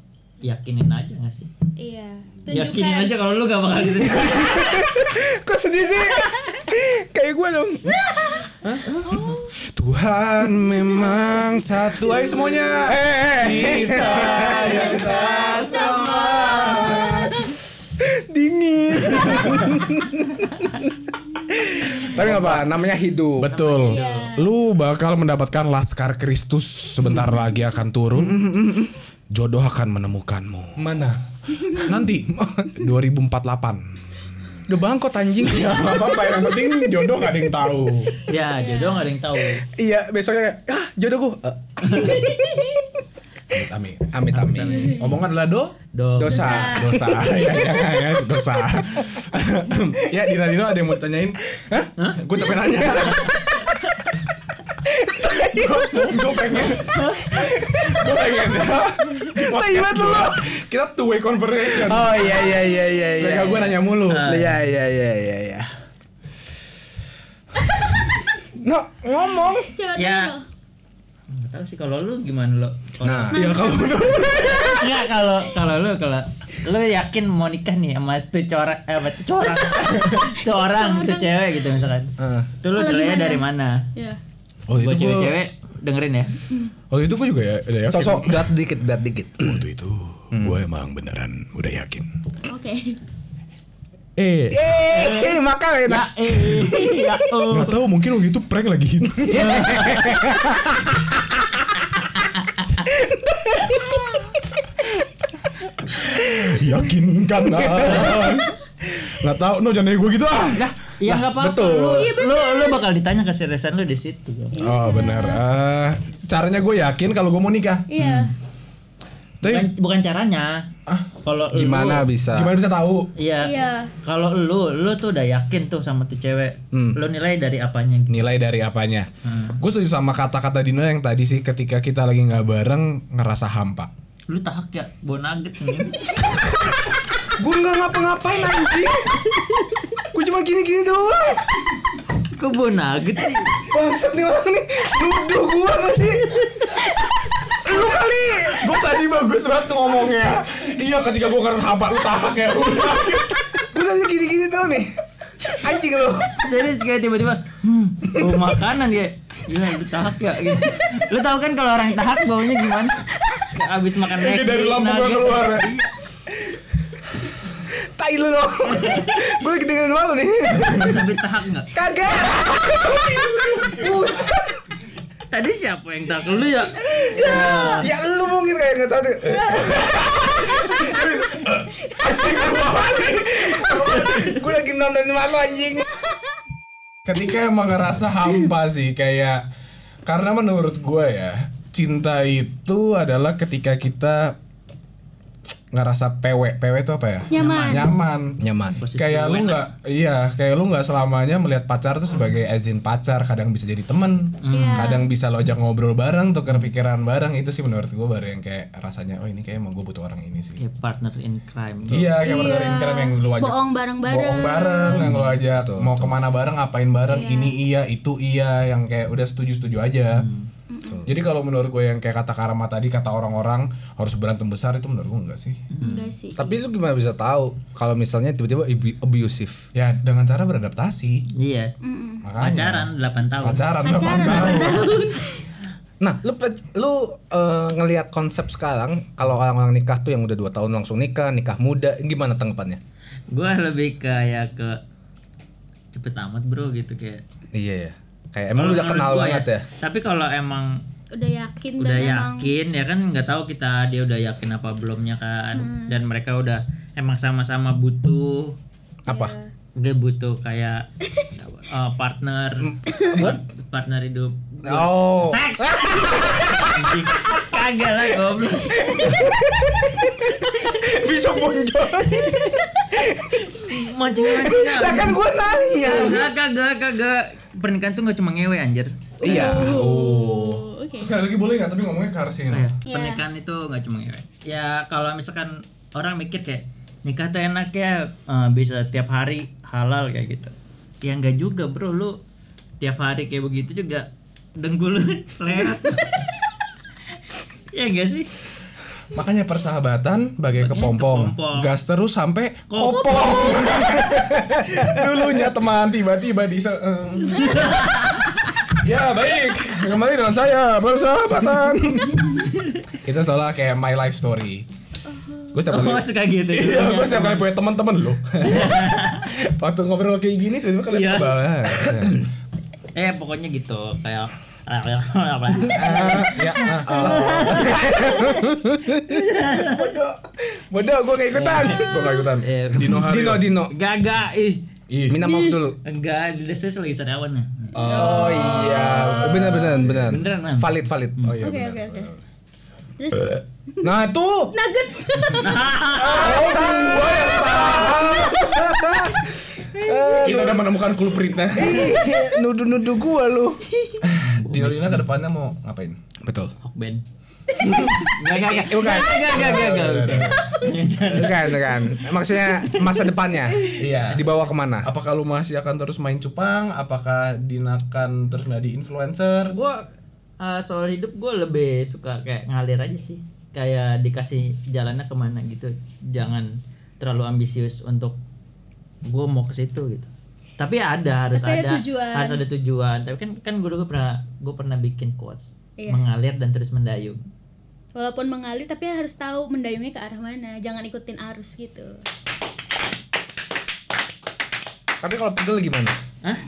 A: yakinin aja gak sih?
B: Iya,
A: Yakinin aja kalau lu gak bakal direstuin.
D: Kok sedih sih? Kayak gue dong.
C: Tuhan memang satu. Ayo semuanya. Kita ya. yang tak sama.
D: Dingin. tapi nggak apa, namanya hidup.
C: Betul.
B: Iya.
C: Lu bakal mendapatkan laskar Kristus sebentar lagi akan turun. Jodoh akan menemukanmu.
D: Mana?
C: Nanti 2048.
D: Udah bangkot anjing.
C: Gak apa-apa yang penting jodoh gak ada yang tahu.
A: ya, jodoh gak ada yang tahu.
D: iya, besoknya ah jodohku. Eh,
C: Amit amit.
D: amit amit.
C: Omongan adalah do
A: Do.
D: Dosa.
C: dosa ya jangan ya dosa ya Dina Dino ada yang mau tanyain Hah? gue capek nanya gue pengen gue pengen ya di podcast gua, kita two way conversation
D: Oh iya iya iya iya.
C: sehingga gue nanya mulu
D: Iya iya iya iya iya. No, ngomong.
B: Coba
A: Ya.
B: dulu.
A: Gak tahu sih kalau lu gimana lo?
C: nah ya kalau
A: Enggak kalau kalau lu kalau lu yakin mau nikah nih sama tuh corak eh sama tuh corak tuh orang tuh cewek gitu misalkan
D: Ah.
A: tuh lu
B: Kalau
A: nilainya
B: gimana?
A: dari mana
B: Ya.
C: oh
A: buat
C: itu gue
A: cewek-cewek dengerin ya
C: oh itu gue juga ya udah yakin
D: Sosok berat dikit, berat dikit.
C: waktu itu gue emang beneran udah yakin
B: Oke.
C: eh
D: Eh, makan enak.
A: ya eh ya oh
C: Gak tahu mungkin waktu itu prank lagi hits Yakinkan kan Gak tahu, no jangan nanya gue gitu ah
A: Lah, ya nggak apa-apa
C: betul.
A: lu,
B: Iya,
A: lu lu bakal ditanya keseriusan lu di situ
C: Oh benar, Eh, caranya gue yakin kalau gue mau nikah
B: Iya.
A: bukan,
C: Tapi
A: bukan caranya kalau lu-
D: Gimana bisa?
C: gimana bisa tahu?
A: Iya.
B: Iya.
A: Kalau lu lu tuh udah yakin tuh sama tuh cewek.
C: Hmm.
A: Lu nilai dari apanya gitu.
C: nilai dari apanya.
D: Hmm.
C: Gue setuju sama kata-kata Dino yang tadi sih ketika kita lagi nggak bareng ngerasa hampa.
A: Lu tahak ya bonaget nih.
D: Gue nggak ngapa-ngapain anjing. Gue cuma gini-gini doang.
A: Kok bonaget sih?
D: Bangsat nih orang nih. Nuduh gue nggak sih? Lu kali.
C: gue tadi bagus banget tuh ngomongnya. Iya ketika gue ngerasa hampa lu tahak ya. udah.
D: Gue tadi gini-gini doang nih. Anjing lu.
A: Serius kayak tiba-tiba hmm, bau makanan ya. Gila lu tahak ya gitu. Lu tahu kan kalau orang tahak baunya gimana? Kayak abis makan
C: Ini dari
A: nugget,
C: lambung gue
A: nugget.
C: keluar.
D: Tai lu dong. Gue lagi dengerin malu nih.
A: Sampai tahak enggak?
D: Kagak. Buset.
A: Tadi siapa yang tahak lu ya?
D: Ya lu mungkin kayak nggak tahu. deh. Gue lagi nonton malu anjing.
C: Ketika emang ngerasa hampa sih kayak karena menurut gue ya cinta itu adalah ketika kita ngerasa PW. PW itu apa ya?
B: Nyaman.
C: Nyaman.
D: Nyaman.
A: Posisi
C: Kayak lu
A: enak.
C: nggak, iya, kayak lu nggak selamanya melihat pacar tuh sebagai izin pacar. Kadang bisa jadi temen,
B: Iya.
C: kadang bisa lo ajak ngobrol bareng, tukar pikiran bareng. Itu sih menurut gue baru yang kayak rasanya, oh ini kayak emang gue butuh orang ini sih.
A: kayak Eh, partner in crime
C: Iya, kayak partner in crime yang lu ajak
B: Bohong bareng-bareng.
C: bohong bareng yang lo ajak mau kemana bareng ngapain bareng ini iya itu iya yang kayak udah setuju setuju aja
D: Hmm.
C: jadi kalau menurut gue yang kayak kata Karma tadi kata orang-orang harus berantem besar itu menurut gue enggak sih
B: Enggak sih.
D: Tapi lu gimana bisa tahu kalau misalnya tiba-tiba ibu- abusive?
C: ya dengan cara beradaptasi
A: iya
C: makanya
A: pacaran 8 tahun
C: pacaran
B: Pacaran
C: pacaran
B: delapan tahun.
D: Nah, lu pe- lu eh, ngelihat konsep sekarang kalau orang-orang nikah tuh yang udah 2 tahun langsung nikah, nikah muda, gimana tanggapannya?
A: gue lebih kayak ke cepet amat bro gitu kayak
D: Iya ya. Kayak emang lu udah
A: Kalau
D: kenal
A: menurut gua
D: banget ya.
A: tapi kalau emang
B: Udah yakin dan
A: udah
B: emang
A: yakin ya kan nggak tahu kita dia udah yakin apa belumnya kan
B: Hmm.
A: dan mereka udah emang sama-sama butuh
D: Apa?
A: gue butuh kayak eh, partner partner hidup
D: Oh.
A: seks Anjing. kagak lah goblok
D: Bisa muncul.
A: mancing mancing
D: Lah kan gua nanya.
A: kagak kagak kagak pernikahan tuh nggak cuma ngewe anjir
D: Iya.
B: Oh, oke.
C: sekali lagi boleh nggak tapi ngomongnya ke arah sini
D: Oh,
A: Iya.
B: Iya.
A: pernikahan itu nggak cuma ngewe ya kalau misalkan orang mikir kayak nikah tuh enak ya eh, bisa tiap hari halal kayak gitu ya nggak juga bro lu tiap hari kayak begitu juga dengkul lu leret ya enggak sih
C: makanya persahabatan bagai kepompong
A: kepompong.
C: gas terus sampai kopong dulunya teman tiba-tiba di eh. ya baik kembali dengan saya persahabatan itu soalnya kayak my life story gue setiap
A: oh
C: kali
A: suka gitu
C: Iya, gue setiap kali punya teman-teman lo. Waktu ngobrol kayak gini tuh kalian Ya,
A: Iya.
C: ke bawah.
A: eh pokoknya gitu kayak
C: Ah, ya, ah, ah.
D: Bodoh, gua kayak ikutan.
C: Gua nggak ikutan.
A: Eh,
C: Dino Hario.
D: Dino Dino.
A: gagak ih
C: Ih,
D: Minta maaf dulu.
A: Iya. enggak di desa lagi sariawan ya
D: Oh iya, benar benar benar.
A: Beneran, Nan.
D: Valid valid.
C: Oh iya
B: Oke,
C: benar.
B: oke, oke. Terus
D: Nah, tuh.
B: nugget.
C: Kita udah menemukan kulpritnya.
D: Nuduh-nuduh eh, iya, gua lu.
C: Dino Dino ke depannya mau ngapain?
D: Betul. Eh,
A: Hokben Enggak, enggak, enggak,
D: Bukan.
A: enggak, enggak, enggak,
C: Iya,
A: enggak.
D: Bukan, bukan. Maksudnya masa depannya.
C: Iya.
D: Dibawa kemana?
C: Apakah lu masih akan terus main cupang? Apakah dinakan terus menjadi influencer?
A: gue eh, soal hidup gue lebih suka kayak ngalir aja sih kayak dikasih jalannya kemana gitu jangan terlalu ambisius untuk gue mau ke situ gitu tapi ada harus
B: Tapi ada
A: ada,
B: tujuan.
A: harus ada tujuan tapi kan kan gue gue pernah gue pernah bikin quotes
B: Iya.
A: mengalir dan terus mendayung
B: Walaupun mengalir tapi harus tahu mendayungnya ke arah mana. Jangan ikutin arus gitu.
D: Tapi kalau pegel gimana?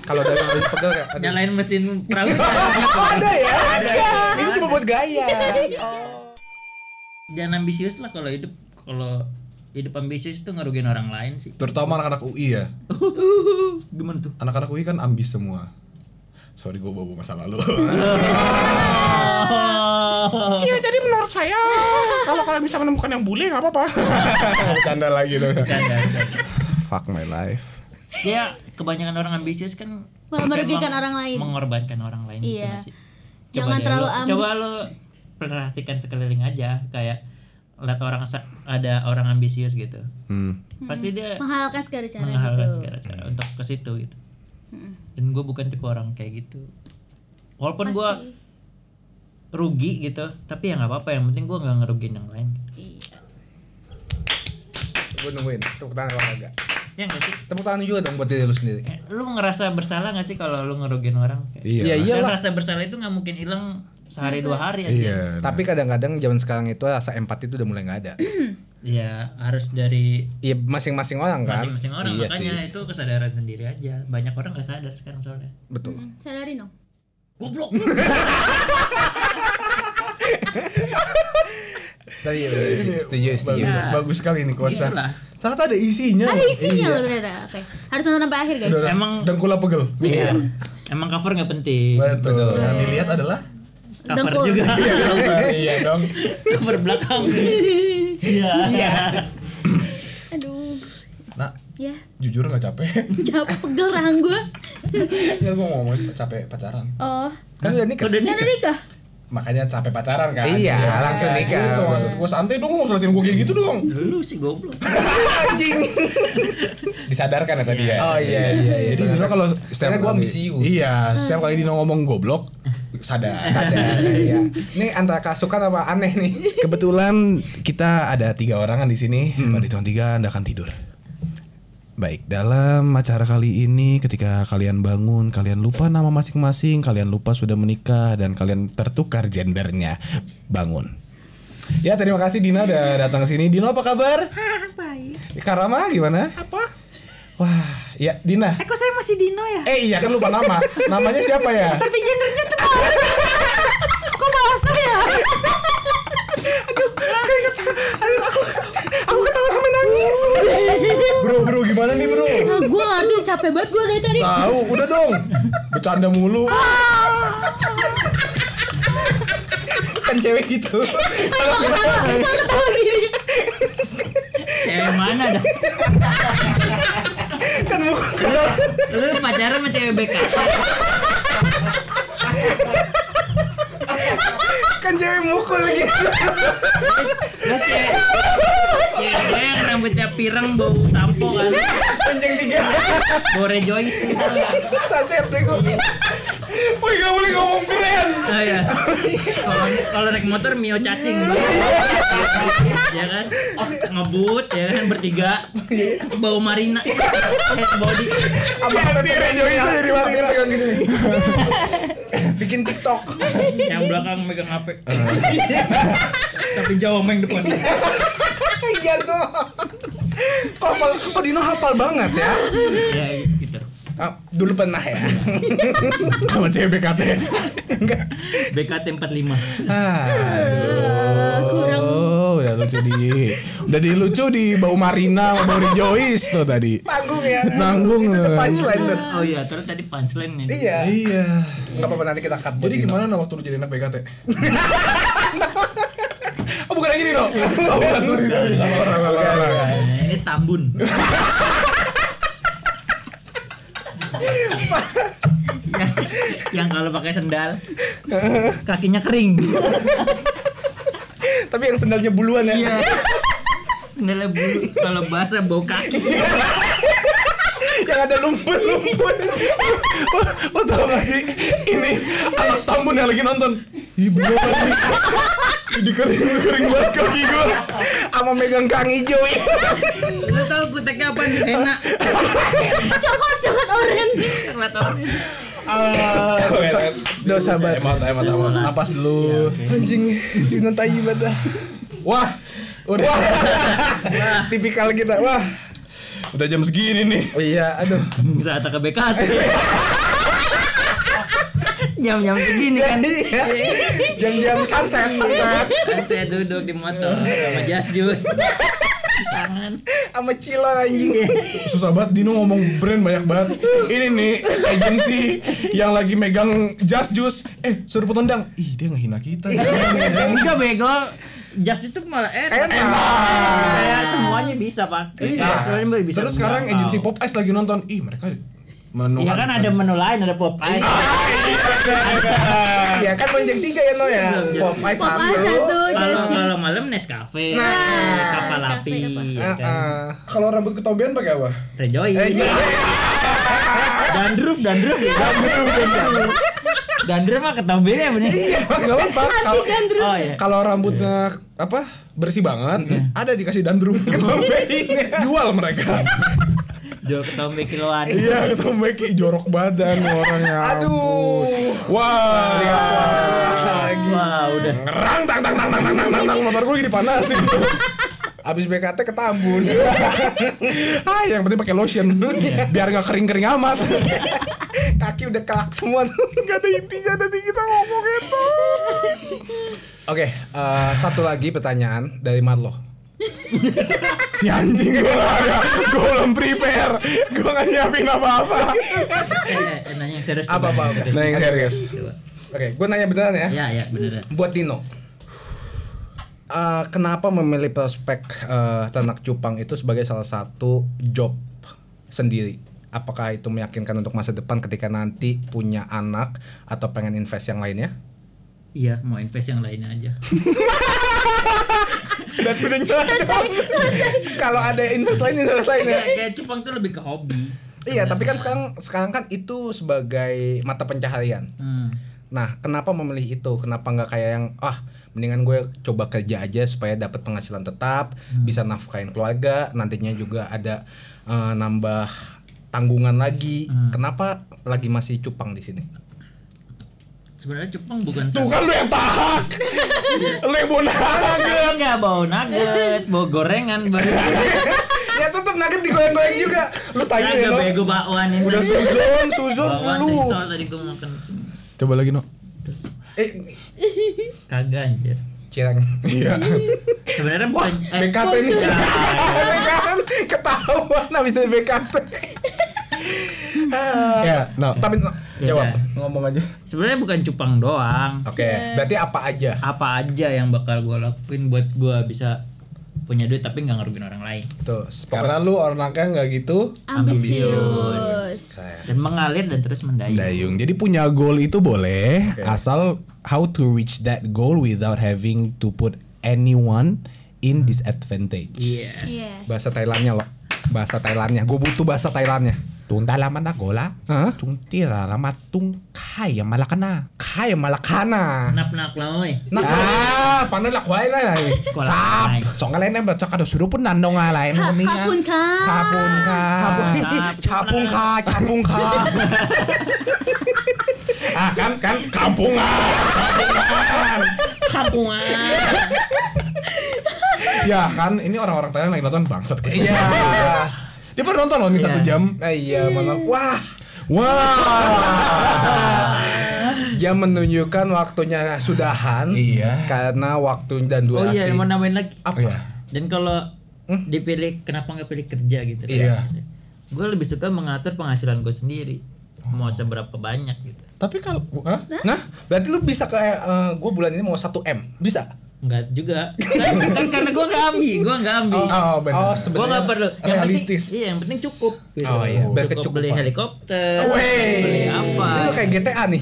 D: Kalau dari habis pegel kayak aduh.
A: nyalain mesin perahu
D: ada ya? Ada. Ini cuma buat gaya.
A: jangan ambisius lah kalau hidup kalau hidup ambisius tuh ngerugiin orang lain sih
C: Terutama anak-anak UI ya.
A: gimana tuh
C: Anak-anak UI kan ambis semua. Sorry gue bawa masa lalu.
A: Oh.
H: Iya jadi menurut saya kalau kalian bisa menemukan yang bule nggak apa-apa.
C: Canda lagi tuh.
A: Bercanda, bercanda.
D: Fuck my life.
A: ya kebanyakan orang ambisius kan
B: Malah merugikan
A: memang
B: orang lain.
A: mengorbankan orang lain gitu
B: Iya.
A: nggak sih?
B: Jangan
A: deh
B: terlalu
A: lu-
B: ambis.
A: coba lo perhatikan sekeliling aja kayak lihat orang sa- ada orang ambisius gitu pasti dia
B: Menghalalkan segala Hmm. cara
A: Eh. menghalalkan
B: gitu. Hmm.
A: segala cara untuk ke situ gitu dan gue bukan tipe orang kayak gitu walaupun gue rugi gitu tapi ya nggak apa-apa yang penting gue nggak ngerugiin yang lain
D: Gue nungguin tepuk tangan kalau enggak.
A: ya nggak sih
D: Tepuk tangan juga dong buat diri lu sendiri.
A: Eh, lu ngerasa bersalah nggak sih kalau lu ngerugiin orang Kayak-
D: Iya,
C: Iya.
A: Dan
D: iyalah.
A: rasa bersalah itu nggak mungkin hilang sehari dua hari aja.
C: Iya.
D: Tapi kadang-kadang zaman sekarang itu rasa empati itu udah mulai nggak ada.
A: Ya harus dari
D: Iya masing-masing orang kan.
A: masing-masing orang
D: Iya sih.
A: makanya itu kesadaran sendiri aja. Banyak orang nggak sadar sekarang soalnya.
D: Betul.
B: Hmm, Sadarin dong.
A: Goblok.
D: Tadi iya, iya, iya. setuju, setuju.
C: Bagus, bagus sekali nih kuasa.
A: Iyalah.
C: Ternyata ada isinya.
A: Oh,
B: Ada
A: iya.
B: isinya loh ternyata. Oke. Harus nonton sampai akhir, guys.
C: Udah,
A: Emang-
C: dengkula pegel.
A: Iya. Emang cover nggak penting.
C: Betul. Yang dilihat adalah
A: cover
B: Dengkul.
A: juga
C: iya dong
A: cover belakang iya
B: Aduh,
C: nah
B: ya
C: jujur nggak capek
B: capek pegel rahang gue.
C: ya gue ngomong capek pacaran
B: Oh,
D: Kan udah nikah.
A: udah
B: kan
A: nikah
B: udah nikah?
C: makanya capek pacaran kan
D: Iya, langsung
C: kan?
D: nikah.
C: gitu, maksud gue santai dong mau selatin gue kayak gitu dong
A: lu sih goblok
D: Anjing.
C: disadarkan ya tadi ya
D: Oh iya iya. iya.
C: jadi Dino kalau
D: Karena gua ambisius.
C: iya setiap kali Dino ngomong goblok sadar
D: sadar ya. Ini antara kasukan apa aneh nih? Hmm.
C: kebetulan kita ada tiga orangan di sini pada tahun tiga anda akan tidur Baik, dalam acara kali ini ketika kalian bangun, kalian lupa nama masing-masing, kalian lupa sudah menikah dan kalian tertukar gendernya. Bangun. Ya, terima kasih Dina udah datang ke sini. Dino apa kabar? baik. Karama gimana?
I: Apa?
C: Wah, ya Dina.
I: Eh kok saya masih Dino ya?
C: Eh iya kan lupa nama. Namanya siapa ya?
I: Tapi gendernya teman. kok ya? bahas saya?
C: Bro, bro gimana nih, Bro?
B: Nah, gue aduh capek banget gue dari tadi.
C: Tahu, udah dong. Bercanda mulu.
I: Ah.
D: Kan cewek gitu.
B: Gue ketawa, gue ketawa gini.
A: Oh. cewek mana dah kan lu, lu pacaran sama cewek BK
D: Kan cewek mukul gitu.
A: lu cewek cewek yang rambutnya pirang bau sampo kan
D: Panjang tiga.
A: bau rejoice gitu
D: Saset deh gua. Wih, gak boleh ngomong keren.
A: oh, iya. kalau kalau naik motor mio cacing
D: Iya.
A: ya kan ngebut ya kan bertiga bau marina head body
D: Apa nanti rejoin dari warga pegang gitu. Bikin TikTok.
A: yang belakang megang HP tapi jauh main depan
D: Iya no. Kok hafal- kok Dino hafal banget ya?
A: ya gitu
D: Ah, dulu pernah ya.
C: Nama cewek BKT.
A: BKT 45
C: Aduh.
B: Ah, kurang.
C: Oh, udah lucu di. Udah di lucu di bau Marina sama bau Rejoice tuh tadi.
D: Tanggung ya.
C: Nanggung.
D: Itu punchline tuh.
A: oh iya terus tadi punchline nih
D: Iya.
C: Iya.
D: Enggak apa-apa nanti kita cut. buat
C: Jadi
D: Dino.
C: gimana nah waktu lu jadi anak BKT?
D: Oh, bukan lagi Dino. Oh, bukan sorry. sorry.
A: Nah, ini Tambun yang, yang kalau pakai sendal kakinya kering
D: Tapi yang sendalnya buluan ya.
A: iya sendalnya bulu kalau basah bau kaki
D: yang ada lumpur-lumpur.
C: Lo tau gak sih ini anak tambun yang lagi nonton Ibu lagi Ini kering kering banget kaki gue
D: Sama megang kang hijau. ya.
A: lu tau kuteknya apa enak
B: Coklat, coklat orange.
A: nggak tau
D: dosa, dosa banget.
C: Ah, Emang emang emang Napas dulu
D: Anjing Dino tai banget dah.
C: Wah Udah
D: Tipikal kita. Wah.
C: Udah jam segini nih
D: Iya, aduh.
A: bisa tak ke BKT jam-jam segini kan
D: Iya, Jam-jam sunset, sunset.
A: Kan saya duduk di motor sama jas jus tangan
D: Sama Cila anjing.
C: Susah banget Dino ngomong brand banyak banget Ini nih agensi yang lagi megang jas jus Eh suruh potondang Ih dia ngehina kita Nah,
A: enggak bego jas jus tuh malah enak Iya. Kayak semuanya bisa pakai
C: Nah,
A: semuanya bisa
C: Terus sekarang
A: menjangkau.
C: agensi pop ice lagi nonton Ih mereka menu
A: Iya kan ada menu lain ada pop ice
D: Iya kan panjang tiga ya no
C: Iya,
D: ya. Pop ice
B: Pop ice satu,
D: satu.
A: kalau
B: jelas.
A: kalau malam Nescafe
D: Nah.
A: kapal
B: Nescafe,
A: api
B: kapal.
C: Iya,
A: ya kan.
C: Kalau rambut ketombean pakai apa?
A: Rejoice dandruff dandruff Iya. ya dandruff mah ketombeannya bener
C: Gak apa-apa Iya, kalau
B: kan,
A: oh iya
C: kalau rambutnya apa bersih banget ada dikasih dandruff Iya. ketombein jual mereka
A: jual ketombe kiloan
C: iya ketombein kayak jorok badan orangnya
D: Aduh.
C: ya wah
A: wah udah
C: ngerang tang tang tang tang tang tang tang, tang motor gue lagi dipanasin
D: gitu. Abis BKT ketambun.
C: ah yang penting pakai lotion biar nggak kering kering amat
D: Kaki udah kelak semua tuh. Gak ada intinya nanti kita ngomong itu. Oke, eh, satu lagi pertanyaan dari Marlo.
C: si anjing gue gak gue belum prepare gue gak nyiapin apa apa
A: Eh, eh, nanya yang serius
D: Apa,
A: coba.
D: apa, apa?
C: nah yang serius
A: Coba.
D: Oke, gue nanya beneran ya.
A: Ya ya bener.
D: Buat Dino. Eh, kenapa memilih prospek eh, ternak cupang itu sebagai salah satu job sendiri? Apakah itu meyakinkan untuk masa depan ketika nanti punya anak atau pengen invest yang lainnya?
A: Iya mau invest yang lainnya aja.
D: Dan udah nyerah. Kalau ada invest lainnya selesai nih.
A: kayak, kayak cupang tuh lebih ke hobi.
D: Iya, tapi kan sekarang sekarang kan itu sebagai mata pencaharian.
A: Hmm.
D: Nah, kenapa memilih itu? Kenapa nggak kayak yang ah mendingan gue coba kerja aja supaya dapat penghasilan tetap, Hmm. bisa nafkahin keluarga, nantinya juga ada eh, nambah tanggungan lagi. Kenapa lagi masih cupang di sini?
A: Sebenarnya cupang bukan.
C: Tuh kan lu yang pahak.
D: Iya.
C: lu yang mau nugget.
A: Enggak bau nugget, bau gorengan baru.
D: ya tetap nugget digoyang-goyang juga. Lu tanya
A: Agak
D: ya lo.
A: bego bakwan ini.
D: Udah suzon, suzon
A: Bakwan
D: lu.
A: tadi soal tadi gue makan
C: Coba lagi no.
D: Eh,
A: kagak anjir.
D: cireng.
C: Iya.
A: Sebenarnya bukan. eh,
D: BKT nih. kan ketahuan habis dari BKT. Ah.
C: Ya, no.
D: Tapi no,
A: Ya
D: jawab
A: udah.
D: ngomong aja.
A: Sebenarnya bukan cupang doang.
D: Oke, berarti apa aja?
A: Apa aja yang bakal gue lakuin buat gue bisa punya duit tapi nggak ngerugiin orang lain
D: Tuh,
C: Karena lu orangnya nggak gitu
B: Ambisius.
A: dan mengalir dan terus
D: Iya.
A: mendayung.
C: dayung. Jadi punya goal itu boleh asal how to reach that goal without having to put anyone in disadvantage.
A: Iya.
B: Yes.
D: Hmm. bahasa Thailandnya loh. Bahasa Thailandnya. Gue butuh bahasa Thailandnya.
C: Tunta lama na gola.
D: Hah?
C: Cuntira lama tung kaya malakana.
D: Kayak malakana.
A: Nap nak lamoy.
D: Nah,
C: Iya.
D: ah, panu lah kuai lah. lah.
A: Kuala
C: Sap.
A: Naik.
C: Song kalian yang baca kada suruh pun nandong lain
B: Ka- kapun ka.
C: Kapun ka.
D: Nah,
A: Sap.
D: Capung ka, capung ka.
C: Ah kan kan kampungan.
A: Kampungan.
C: ya kan ini orang-orang Thailand lagi nonton bangsat. gitu.
D: Iya.
C: Dia baru nonton loh ini satu
A: Iya.
C: jam.
D: Nah, iya, mana wah.
C: Wah.
D: Jam menunjukkan waktunya sudahan.
C: Iya.
D: Karena waktu dan
A: Oh
D: durasi.
A: iya, mau nambahin lagi.
D: Apa?
C: Iya.
A: Dan kalau
D: Hmm?
A: dipilih kenapa nggak pilih kerja gitu?
C: Iya.
A: Gue lebih suka mengatur penghasilan gue sendiri.
D: Oh.
A: Mau seberapa banyak gitu.
C: Tapi kalau Hah?
D: Nah, berarti lu bisa kayak gue bulan ini mau 1 M, bisa?
A: Enggak juga. Kan, kan karena gue nggak ambi, gue nggak ambi.
C: Oh, benar.
A: gue
D: Oh,
A: nggak
D: sebenarnya.
A: perlu. Yang
C: realistis.
A: Penting, iya, yang penting cukup. Gitu.
D: Oh, iya. Biar
A: Cukup beli
D: kecukupan.
A: helikopter. Beli
D: Wey,
A: apa?
D: Ini lu kayak gitu. GTA nih.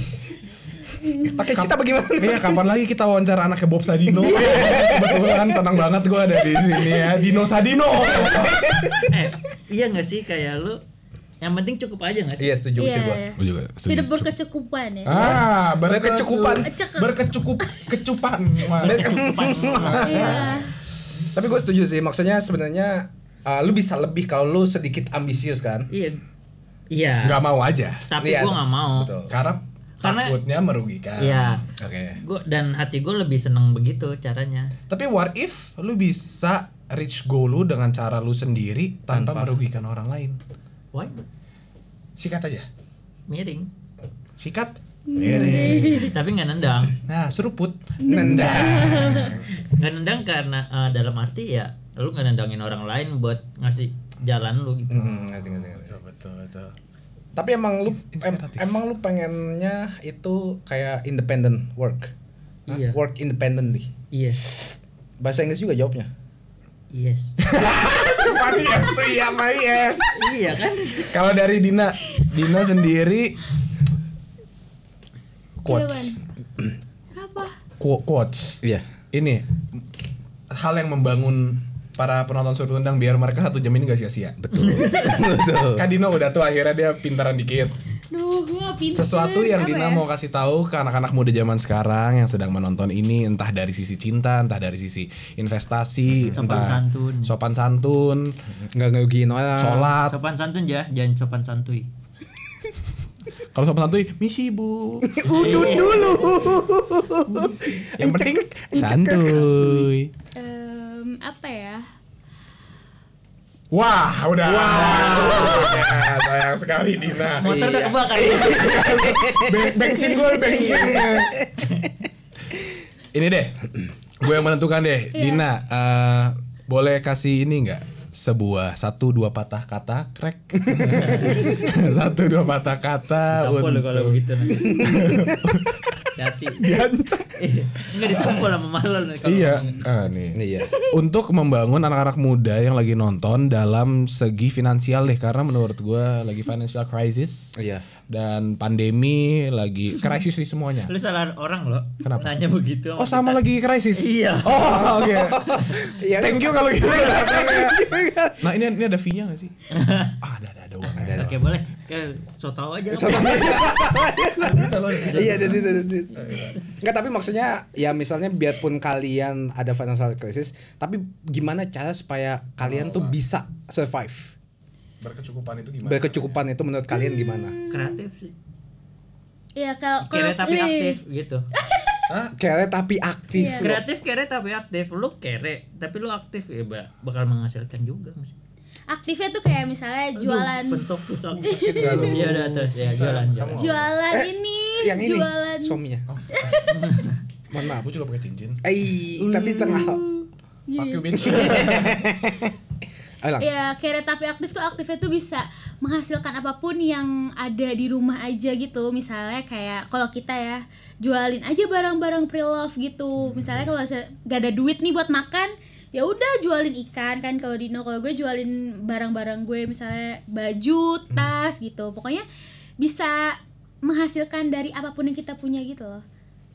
D: Pakai cita bagaimana?
C: Iya, kapan lagi kita wawancara anaknya Bob Sadino? Kebetulan senang banget gue ada di sini ya. Dino Sadino.
A: eh, iya nggak sih kayak lu? Yang penting cukup aja nggak sih?
D: Iya, setuju
B: Iya,
D: sih gua.
B: iya.
C: Gue juga
B: Hidup berkecukupan ya.
C: Ah,
D: Berkecukupan.
B: Cek-
C: Berkecukup kecupan.
B: Iya.
D: Tapi gue setuju sih, maksudnya sebenarnya eh, lu bisa lebih kalau lu sedikit ambisius kan?
A: Iya. Iya.
C: Gak mau aja.
A: Tapi
D: Iya.
A: gue nggak mau.
D: Betul.
C: Karena
A: Karena-
C: takutnya merugikan.
A: Iya.
D: Oke.
A: Gue dan hati gue lebih seneng begitu caranya.
C: Tapi what if lu bisa reach goal lu dengan cara lu sendiri tanpa, merugikan orang lain?
A: Why?
C: Sikat aja.
A: Miring.
C: Sikat. Miring.
A: Tapi nggak nendang.
C: Nah, seruput. Nendang.
A: Nggak nendang karena eh, dalam arti ya lu nggak nendangin orang lain buat ngasih jalan lu gitu.
D: Hmm, ngerti, ngerti, ngerti.
C: Iya,
D: Tapi emang lu em- emang lu pengennya itu kayak independent work. Hah?
A: Iya.
D: Work independently.
A: Yes.
D: Bahasa Inggris juga jawabnya.
A: Yes.
C: yes, iya, yes.
A: iya kan?
C: Kalau dari Dina, Dina sendiri quotes,
B: Apa?
C: Qu- quotes.
D: Iya.
C: Ini hal yang membangun para penonton suruh tendang biar mereka satu jam ini gak sia-sia. Betul. Betul. Kan Dina udah tuh akhirnya dia pintaran dikit.
B: Duh, gue gak pinter.
C: Sesuatu
B: Iya,
C: yang
B: Apa
C: Dina
B: ya?
C: mau kasih tahu ke anak-anak muda zaman sekarang yang sedang menonton ini entah dari sisi cinta, entah dari sisi investasi,
A: Sopan
C: entah
A: santun.
C: sopan santun,
D: Nggak ngerugiin orang.
C: sholat,
A: Sopan santun ya, jangan sopan santuy.
C: Kalau sopan santuy, misi bu.
D: Udut dulu.
C: Yang penting santuy.
B: Em, apa ya?
C: Wah, udah. Ya, sayang sekali Dina.
D: Iya.
A: Motor udah kebakar. ya?
C: Be- bensin gue bensin.
A: Iya.
C: ini deh, gue yang menentukan deh.
D: Iya.
C: Dina, eh, boleh kasih ini nggak? sebuah satu dua patah kata krek satu dua patah kata
A: Apa lu
C: untuk
A: kalau begitu nanti? Hati.
H: Diancam.
A: Enggak dipukul Iya. sama malon nih kalau
C: Iya,
A: ngomongin.
C: ah, nih.
D: Iya.
C: Untuk membangun anak-anak muda yang lagi nonton dalam segi finansial deh, karena menurut gua lagi financial crisis
D: Iya.
C: dan pandemi lagi krisis sih semuanya.
A: Lu salah orang loh.
C: Kenapa?
A: Nanya begitu.
C: Oh sama lagi krisis.
A: Iya.
C: Oh oke.
D: Iya.
C: Thank you kalau gitu. nah ini ini ada fee-nya gak sih? ah ada ada ada uang ada. ada.
A: Oke boleh. Sekarang so tau aja.
D: Iya, jadi Enggak, tapi maksudnya ya misalnya biarpun kalian ada financial crisis, tapi gimana cara supaya kalian tuh bisa survive?
C: Berkecukupan itu gimana?
D: Berkecukupan itu menurut kalian gimana?
A: Kreatif sih.
B: Iya kalau
A: Kere
B: kalau-
A: tapi
B: nih.
A: aktif gitu.
D: Kere tapi aktif.
B: Iya.
D: loh.
A: Kreatif kere tapi aktif. Lu kere tapi lu aktif ya ba- bakal menghasilkan juga mas.
B: Aktifnya tuh kayak misalnya jualan
A: Bentuk pusat. Iya udah terus ya jualan jualan.
B: jualan ini,
D: Yang ini
B: jualan
D: suaminya.
C: Mohon maaf, aku juga pakai cincin.
D: Eh, tapi tengah.
A: Iya.
C: Fuck you bitch.
D: Ayo, Lang.
B: Ya, kayak tapi aktif tuh aktifnya tuh bisa menghasilkan apapun yang ada di rumah aja gitu. Misalnya kayak kalau kita ya jualin aja barang-barang pre-love gitu. Misalnya kalau saya gak ada duit nih buat makan, ya udah jualin ikan kan kalau Dino. Kalau gue jualin barang-barang gue misalnya baju, tas gitu. Pokoknya bisa menghasilkan dari apapun yang kita punya gitu loh.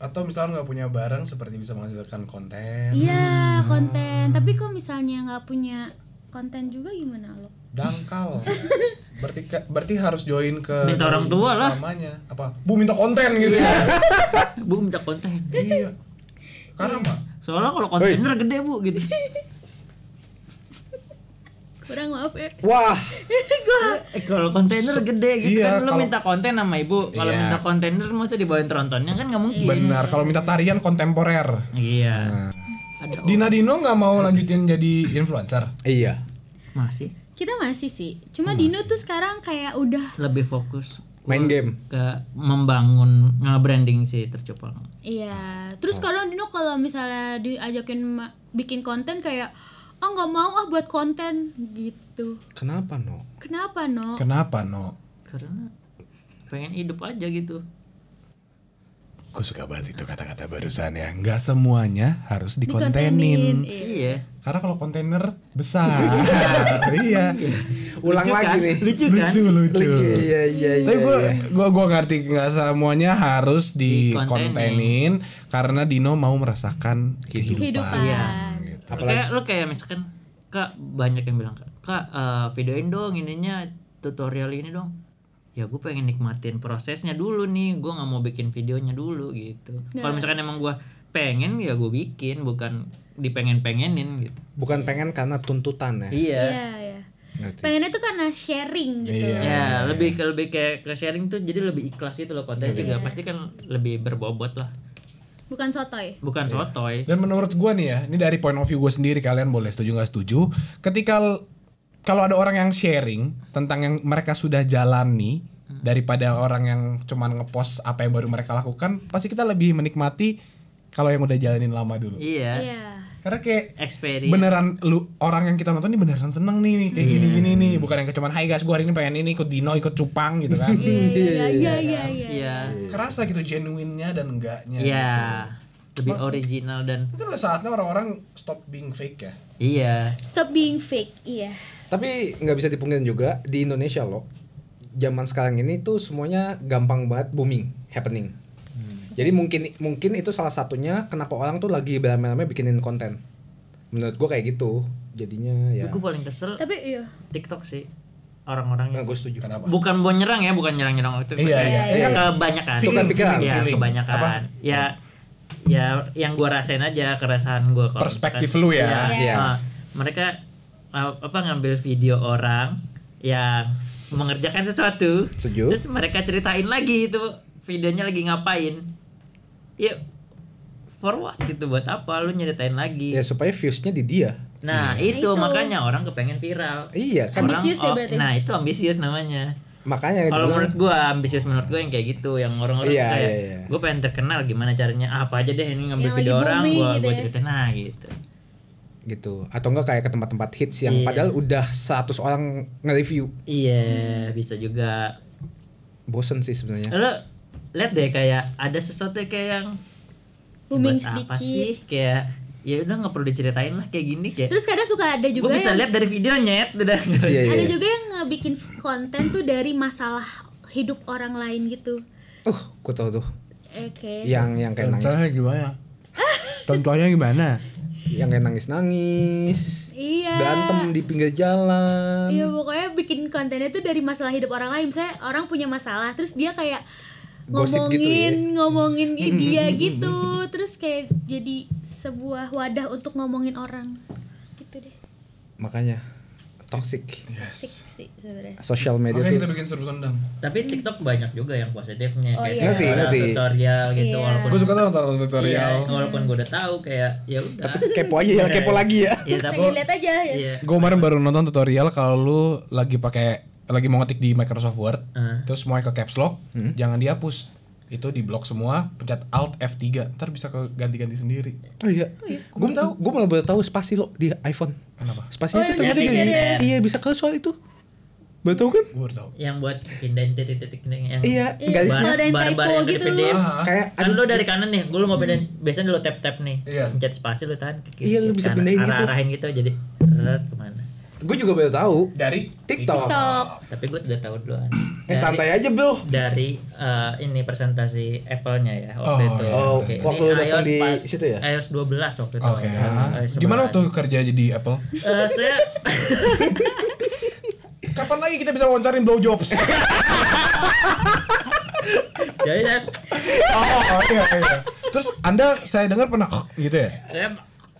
C: Atau misalnya nggak punya barang seperti bisa menghasilkan konten.
B: Iya, konten. Tapi kok misalnya nggak punya konten juga gimana lo?
C: Dangkal. Berarti berarti harus join ke
A: Minta orang tua lah. Iya.
C: Namanya apa? Bu minta konten gitu ya.
A: Bu minta konten.
C: iya. Karena apa?
A: Soalnya kalau kontainer gede bu gitu.
B: Kurang maaf ya.
D: Wah,
A: Eh, kalau kontainer gede gitu kan
C: Iya,
A: lu
C: kalau-
A: minta konten sama ibu. Kalau
C: Iya.
A: minta kontainer masa dibawain trontonnya kan nggak mungkin.
C: Benar, Nah. kalau minta tarian kontemporer.
A: Iya. Ada
C: Dina Dino nggak mau lanjutin jadi influencer.
D: iya.
A: masih
B: kita masih sih cuma Dino tuh sekarang kayak udah
A: lebih fokus
D: Main game.
A: ke membangun nge-branding si tercupang.
B: iya terus sekarang Dino kalau misalnya diajakin ma- bikin konten kayak oh nggak mau ah buat konten gitu
D: Kenapa, No?
B: kenapa no
C: Kenapa, No?
A: Karena pengen hidup aja gitu.
C: Gue suka banget itu kata-kata barusan ya. Nggak semuanya harus dikontenin.
B: Iya.
A: Iya.
C: Karena kalau kontainer besar. iya.
D: Ulang
A: Lucu
D: lagi
A: kan?
D: nih.
A: Lucu kan?
C: Lucu, lucu.
D: Iya, iya, iya.
C: Tapi gue gua, gua ngerti nggak semuanya harus
A: Dikontenin.
C: dikontenin karena Dino mau merasakan kehidupan. Gitu.
B: kehidupan
A: Iya.
D: Apalagi-
A: Kayak lu kayak misalkan Kak banyak yang bilang Kak, Kak eh, videoin dong ininya tutorial ini dong. Ya gue pengen nikmatin prosesnya dulu nih. Gue nggak mau bikin videonya dulu gitu. Kalau misalkan emang gue pengen ya gue bikin bukan dipengen-pengenin gitu.
D: Bukan pengen karena tuntutan ya.
A: Iya.
B: iya iya pengennya tuh karena sharing gitu
C: Iya.
A: Ya, lebih ke lebih kayak ke sharing tuh jadi lebih ikhlas itu loh konten juga pasti kan lebih berbobot lah.
B: bukan sotoy
A: Bukan sotoy.
C: Dan menurut gue nih ya, ini dari point of view gue sendiri kalian boleh setuju nggak setuju. Ketika l- kalau ada orang yang sharing tentang yang mereka sudah jalani
A: Hmm.
C: daripada orang yang cuman ngepost apa yang baru mereka lakukan, pasti kita lebih menikmati kalau yang udah jalanin lama dulu.
A: Iya.
B: iya
C: Karena kayak
A: Experience.
C: beneran lu orang yang kita nonton ini beneran seneng nih, nih, kayak
A: Iya.
C: gini-gini nih, bukan yang kayak cuman hai guys gue hari ini pengen ini ikut Dino ikut Cupang gitu kan.
B: iya iya iya iya iya
A: Iya.
C: Kerasa gitu genuinenya dan enggaknya.
A: Iya. Lebih original dan
C: Mungkin udah saatnya orang-orang stop being fake ya.
A: iya.
B: stop being fake iya
D: Tapi nggak bisa dipungkiri juga di Indonesia loh. Zaman sekarang ini tuh semuanya gampang banget booming, happening.
A: Hmm.
D: Jadi mungkin mungkin itu salah satunya kenapa orang tuh lagi beramai-ramai bikinin konten. Menurut gua kayak gitu. Jadinya ya.
A: Gue paling kesel
B: tapi iya
A: TikTok sih orang-orang
D: Nah,
A: yang
D: gue setuju. Kenapa?
A: bukan mau nyerang ya, bukan nyerang-nyerang waktu
C: Iya, iya, iya.
A: kebanyakan.
D: Itu kan pikiran,
A: ya,
C: feeling.
A: kebanyakan.
C: Apa?
A: Ya ya yang gua rasain aja keresahan gua kalau
C: Perspektif
A: misalkan-
C: lu ya.
A: Iya.
D: Iya.
A: Ah, mereka ah, apa ngambil video orang yang mengerjakan sesuatu.
D: Setuju.
A: Terus mereka ceritain lagi itu videonya lagi ngapain. Ya for what gitu buat apa lu nyeritain lagi.
D: Ya supaya viewsnya di dia.
A: Nah,
C: Iya.
A: itu,
B: Itu.
A: makanya orang kepengen viral.
D: Iya kan.
A: Orang-
B: Ambisius ya
A: oh,
B: berarti?
A: Nah, itu ambisius namanya.
D: Makanya
A: Kalau
D: dibilang-
A: menurut gua ambisius menurut gua yang kayak gitu, yang orang-orang
D: Iya,
A: kayak
D: iya, iya.
A: gua pengen terkenal gimana caranya? Ah, Apa aja deh ini ngambil
B: Yang
A: video
B: lagi
A: orang
B: booming
A: gua
B: gitu
A: gua
B: ya.
A: ceritain nah gitu.
D: gitu atau enggak kayak ke tempat-tempat hits yang
A: Iya.
D: padahal udah 100 orang nge-review.
B: Hmm.
A: Iya, bisa juga.
D: Bosen sih sebenarnya.
A: Lo lihat deh kayak ada sesuatu kayak yang
B: Booming
A: "Buat apa
B: sedikit."
A: sih kayak ya udah nggak perlu diceritain lah kayak gini kayak
B: Terus kadang suka ada
A: gue
B: juga
A: bisa
B: yang
A: lihat dari gitu. videonya udah
D: Iya, iya.
B: ada juga yang ngebikin konten tuh dari masalah hidup orang lain gitu. Eh,
D: Uh, ku tahu tuh.
B: Oke.
D: Yang yang kayak nangis,
H: gimana? Contohnya gimana?
D: yang kayak nangis-nangis.
B: Iya.
D: Berantem di pinggir jalan.
B: Iya pokoknya bikin kontennya tuh dari masalah hidup orang lain. Misalnya orang punya masalah, terus dia kayak
D: Gosip
B: ngomongin
D: gitu ya.
B: ngomongin i- dia gitu, terus kayak jadi sebuah wadah untuk ngomongin orang. Gitu deh.
D: Makanya toxic.
B: Asik sih sebenarnya.
D: Sosial media
C: Makanya
D: tuh.
C: kita bikin seru tendang.
A: tapi TikTok banyak juga yang positifnya
B: Oh,
A: kayak
B: iya.
D: Ngerti,
A: tutorial-
D: ngerti.
A: tutorial gitu
B: Iya.
A: walaupun
C: Gue suka tuh nonton
A: Iya,
C: tutorial.
A: walaupun gue udah tahu kayak ya udah
D: Tapi kepo aja ya, kepo lagi ya.
A: Iya, tapi
B: Pengen lihat aja ya.
A: iya
C: Gue kemarin baru nonton tutorial kalau lu lagi pakai lagi mau ngetik di Microsoft Word,
A: Ah.
C: terus mau ke caps lock, jangan dihapus. Itu di blok semua, pencet Alt F3, ntar bisa ke ganti-ganti sendiri.
D: Oh iya. Gue tahu, gue malah baru tahu spasi lo di iPhone. Kenapa? Spasinya
B: Oh,
D: tuh ternyata
A: iya,
D: di,
A: iya,
D: iya bisa ke soal itu. Baru tahu kan?
C: Gue baru tahu.
A: yang buat pindahin titik-titik yang
D: Iya,
B: Iya,
D: garis
B: Bar-
A: bar-
B: dan
A: bar-bar
B: typo
A: yang dari
B: gitu.
A: PDF
C: Ah,
D: kayak
A: kan lu dari kanan nih gue lu mau pindahin biasanya lu tap tap nih
C: Iya.
A: pencet spasi lu tahan ke kiri
D: Hmm. Iya, lu
A: ke
D: bisa
A: kanan,
D: pindahin
A: arah
D: gitu.
A: arahin gitu jadi ret kemana
D: gue juga baru tahu
C: Dari
D: TikTok.
A: tapi gue udah tahu duluan
D: Eh santai aja bro.
A: dari eh, ini presentasi Apple-nya ya waktu
C: Oh,
A: itu.
D: oh,
A: Oke,
D: waktu
A: ini
D: lu
A: iOS
D: datang di
A: pa-
D: situ ya?
A: iOS 12 waktu itu.
C: Oke.
A: Eh, iOS
C: Gimana
A: 11.
C: tuh kerja jadi Apple?
A: Eh, saya
C: Kapan lagi kita bisa wawancarin blow jobs?
A: jadi saya,
C: oh iya iya. Terus Anda saya dengar pernah gitu ya?
A: saya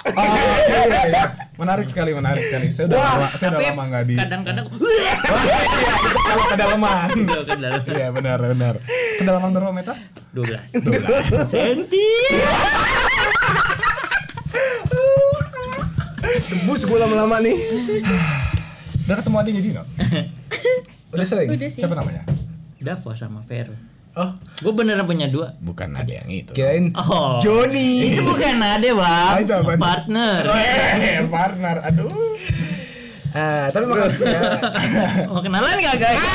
C: Oh, iya, iya, iya. Menarik sekali, menarik sekali. Saya udah lama, saya udah
A: tapi
C: lama nggak di.
A: kadang-kadang
C: Wah, iya, kalau kedalaman.
A: Iya, kedalaman.
C: Iya benar benar. Kedalaman berapa meter?
A: 12 senti.
D: Debus gue lama-lama nih.
C: Udah ketemu adiknya Dino? Udah sering?
B: Udah sih.
C: Siapa namanya?
A: Davo sama Vero.
C: Oh,
A: Gue beneran punya dua.
C: bukan ada yang itu.
D: Kirain
A: Oh. Ini
D: Joni.
A: bukan ade, Bang.
C: Ah, itu apa?
A: Partner.
C: Eh, partner. Aduh.
D: Ah, tapi makasih ya.
A: Mau kenalan gak, guys?
C: Ah.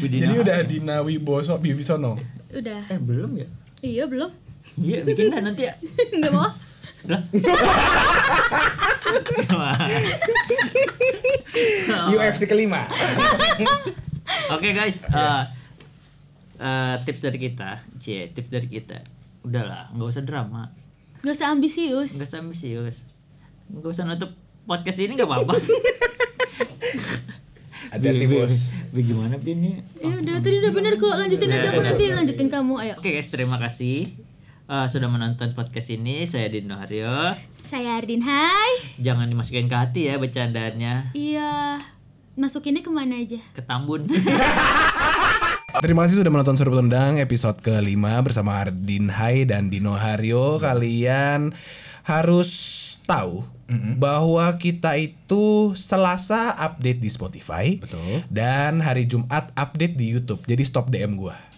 A: Budi
C: Jadi
A: Nao.
C: udah Dina Wiboso Bibisono.
B: Udah.
A: eh belum ya?
B: Iya belum.
A: Iya, bikin dah nanti ya.
B: Enggak mau.
A: Lah.
D: UFC kelima.
A: Oke guys, eh,
C: Iya.
A: eh, tips dari kita, c tips dari kita. Udahlah, nggak usah drama,
B: Gak usah ambisius.
A: nggak usah ambisius, nggak usah nutup podcast ini nggak apa-apa.
D: Hati-hati bos.
A: Bagaimana Bin ini?
B: Ya udah tadi udah bener kok. Lanjutin aja aku nanti lanjutin kamu. Ayo.
A: Oke guys, terima kasih eh, sudah menonton podcast ini. Saya Dino Haryo.
B: Saya Ardin. Hai.
A: Jangan dimasukin ke hati ya bercandaannya.
B: Iya. Masukinnya kemana aja?
A: Ke Tambun.
C: Terima kasih sudah menonton Surut Tendang episode kelima bersama Ardin Hai dan Dino Haryo. Kalian harus tahu bahwa kita itu Selasa update di Spotify, betul. Dan hari Jumat update di YouTube. Jadi stop DM gua.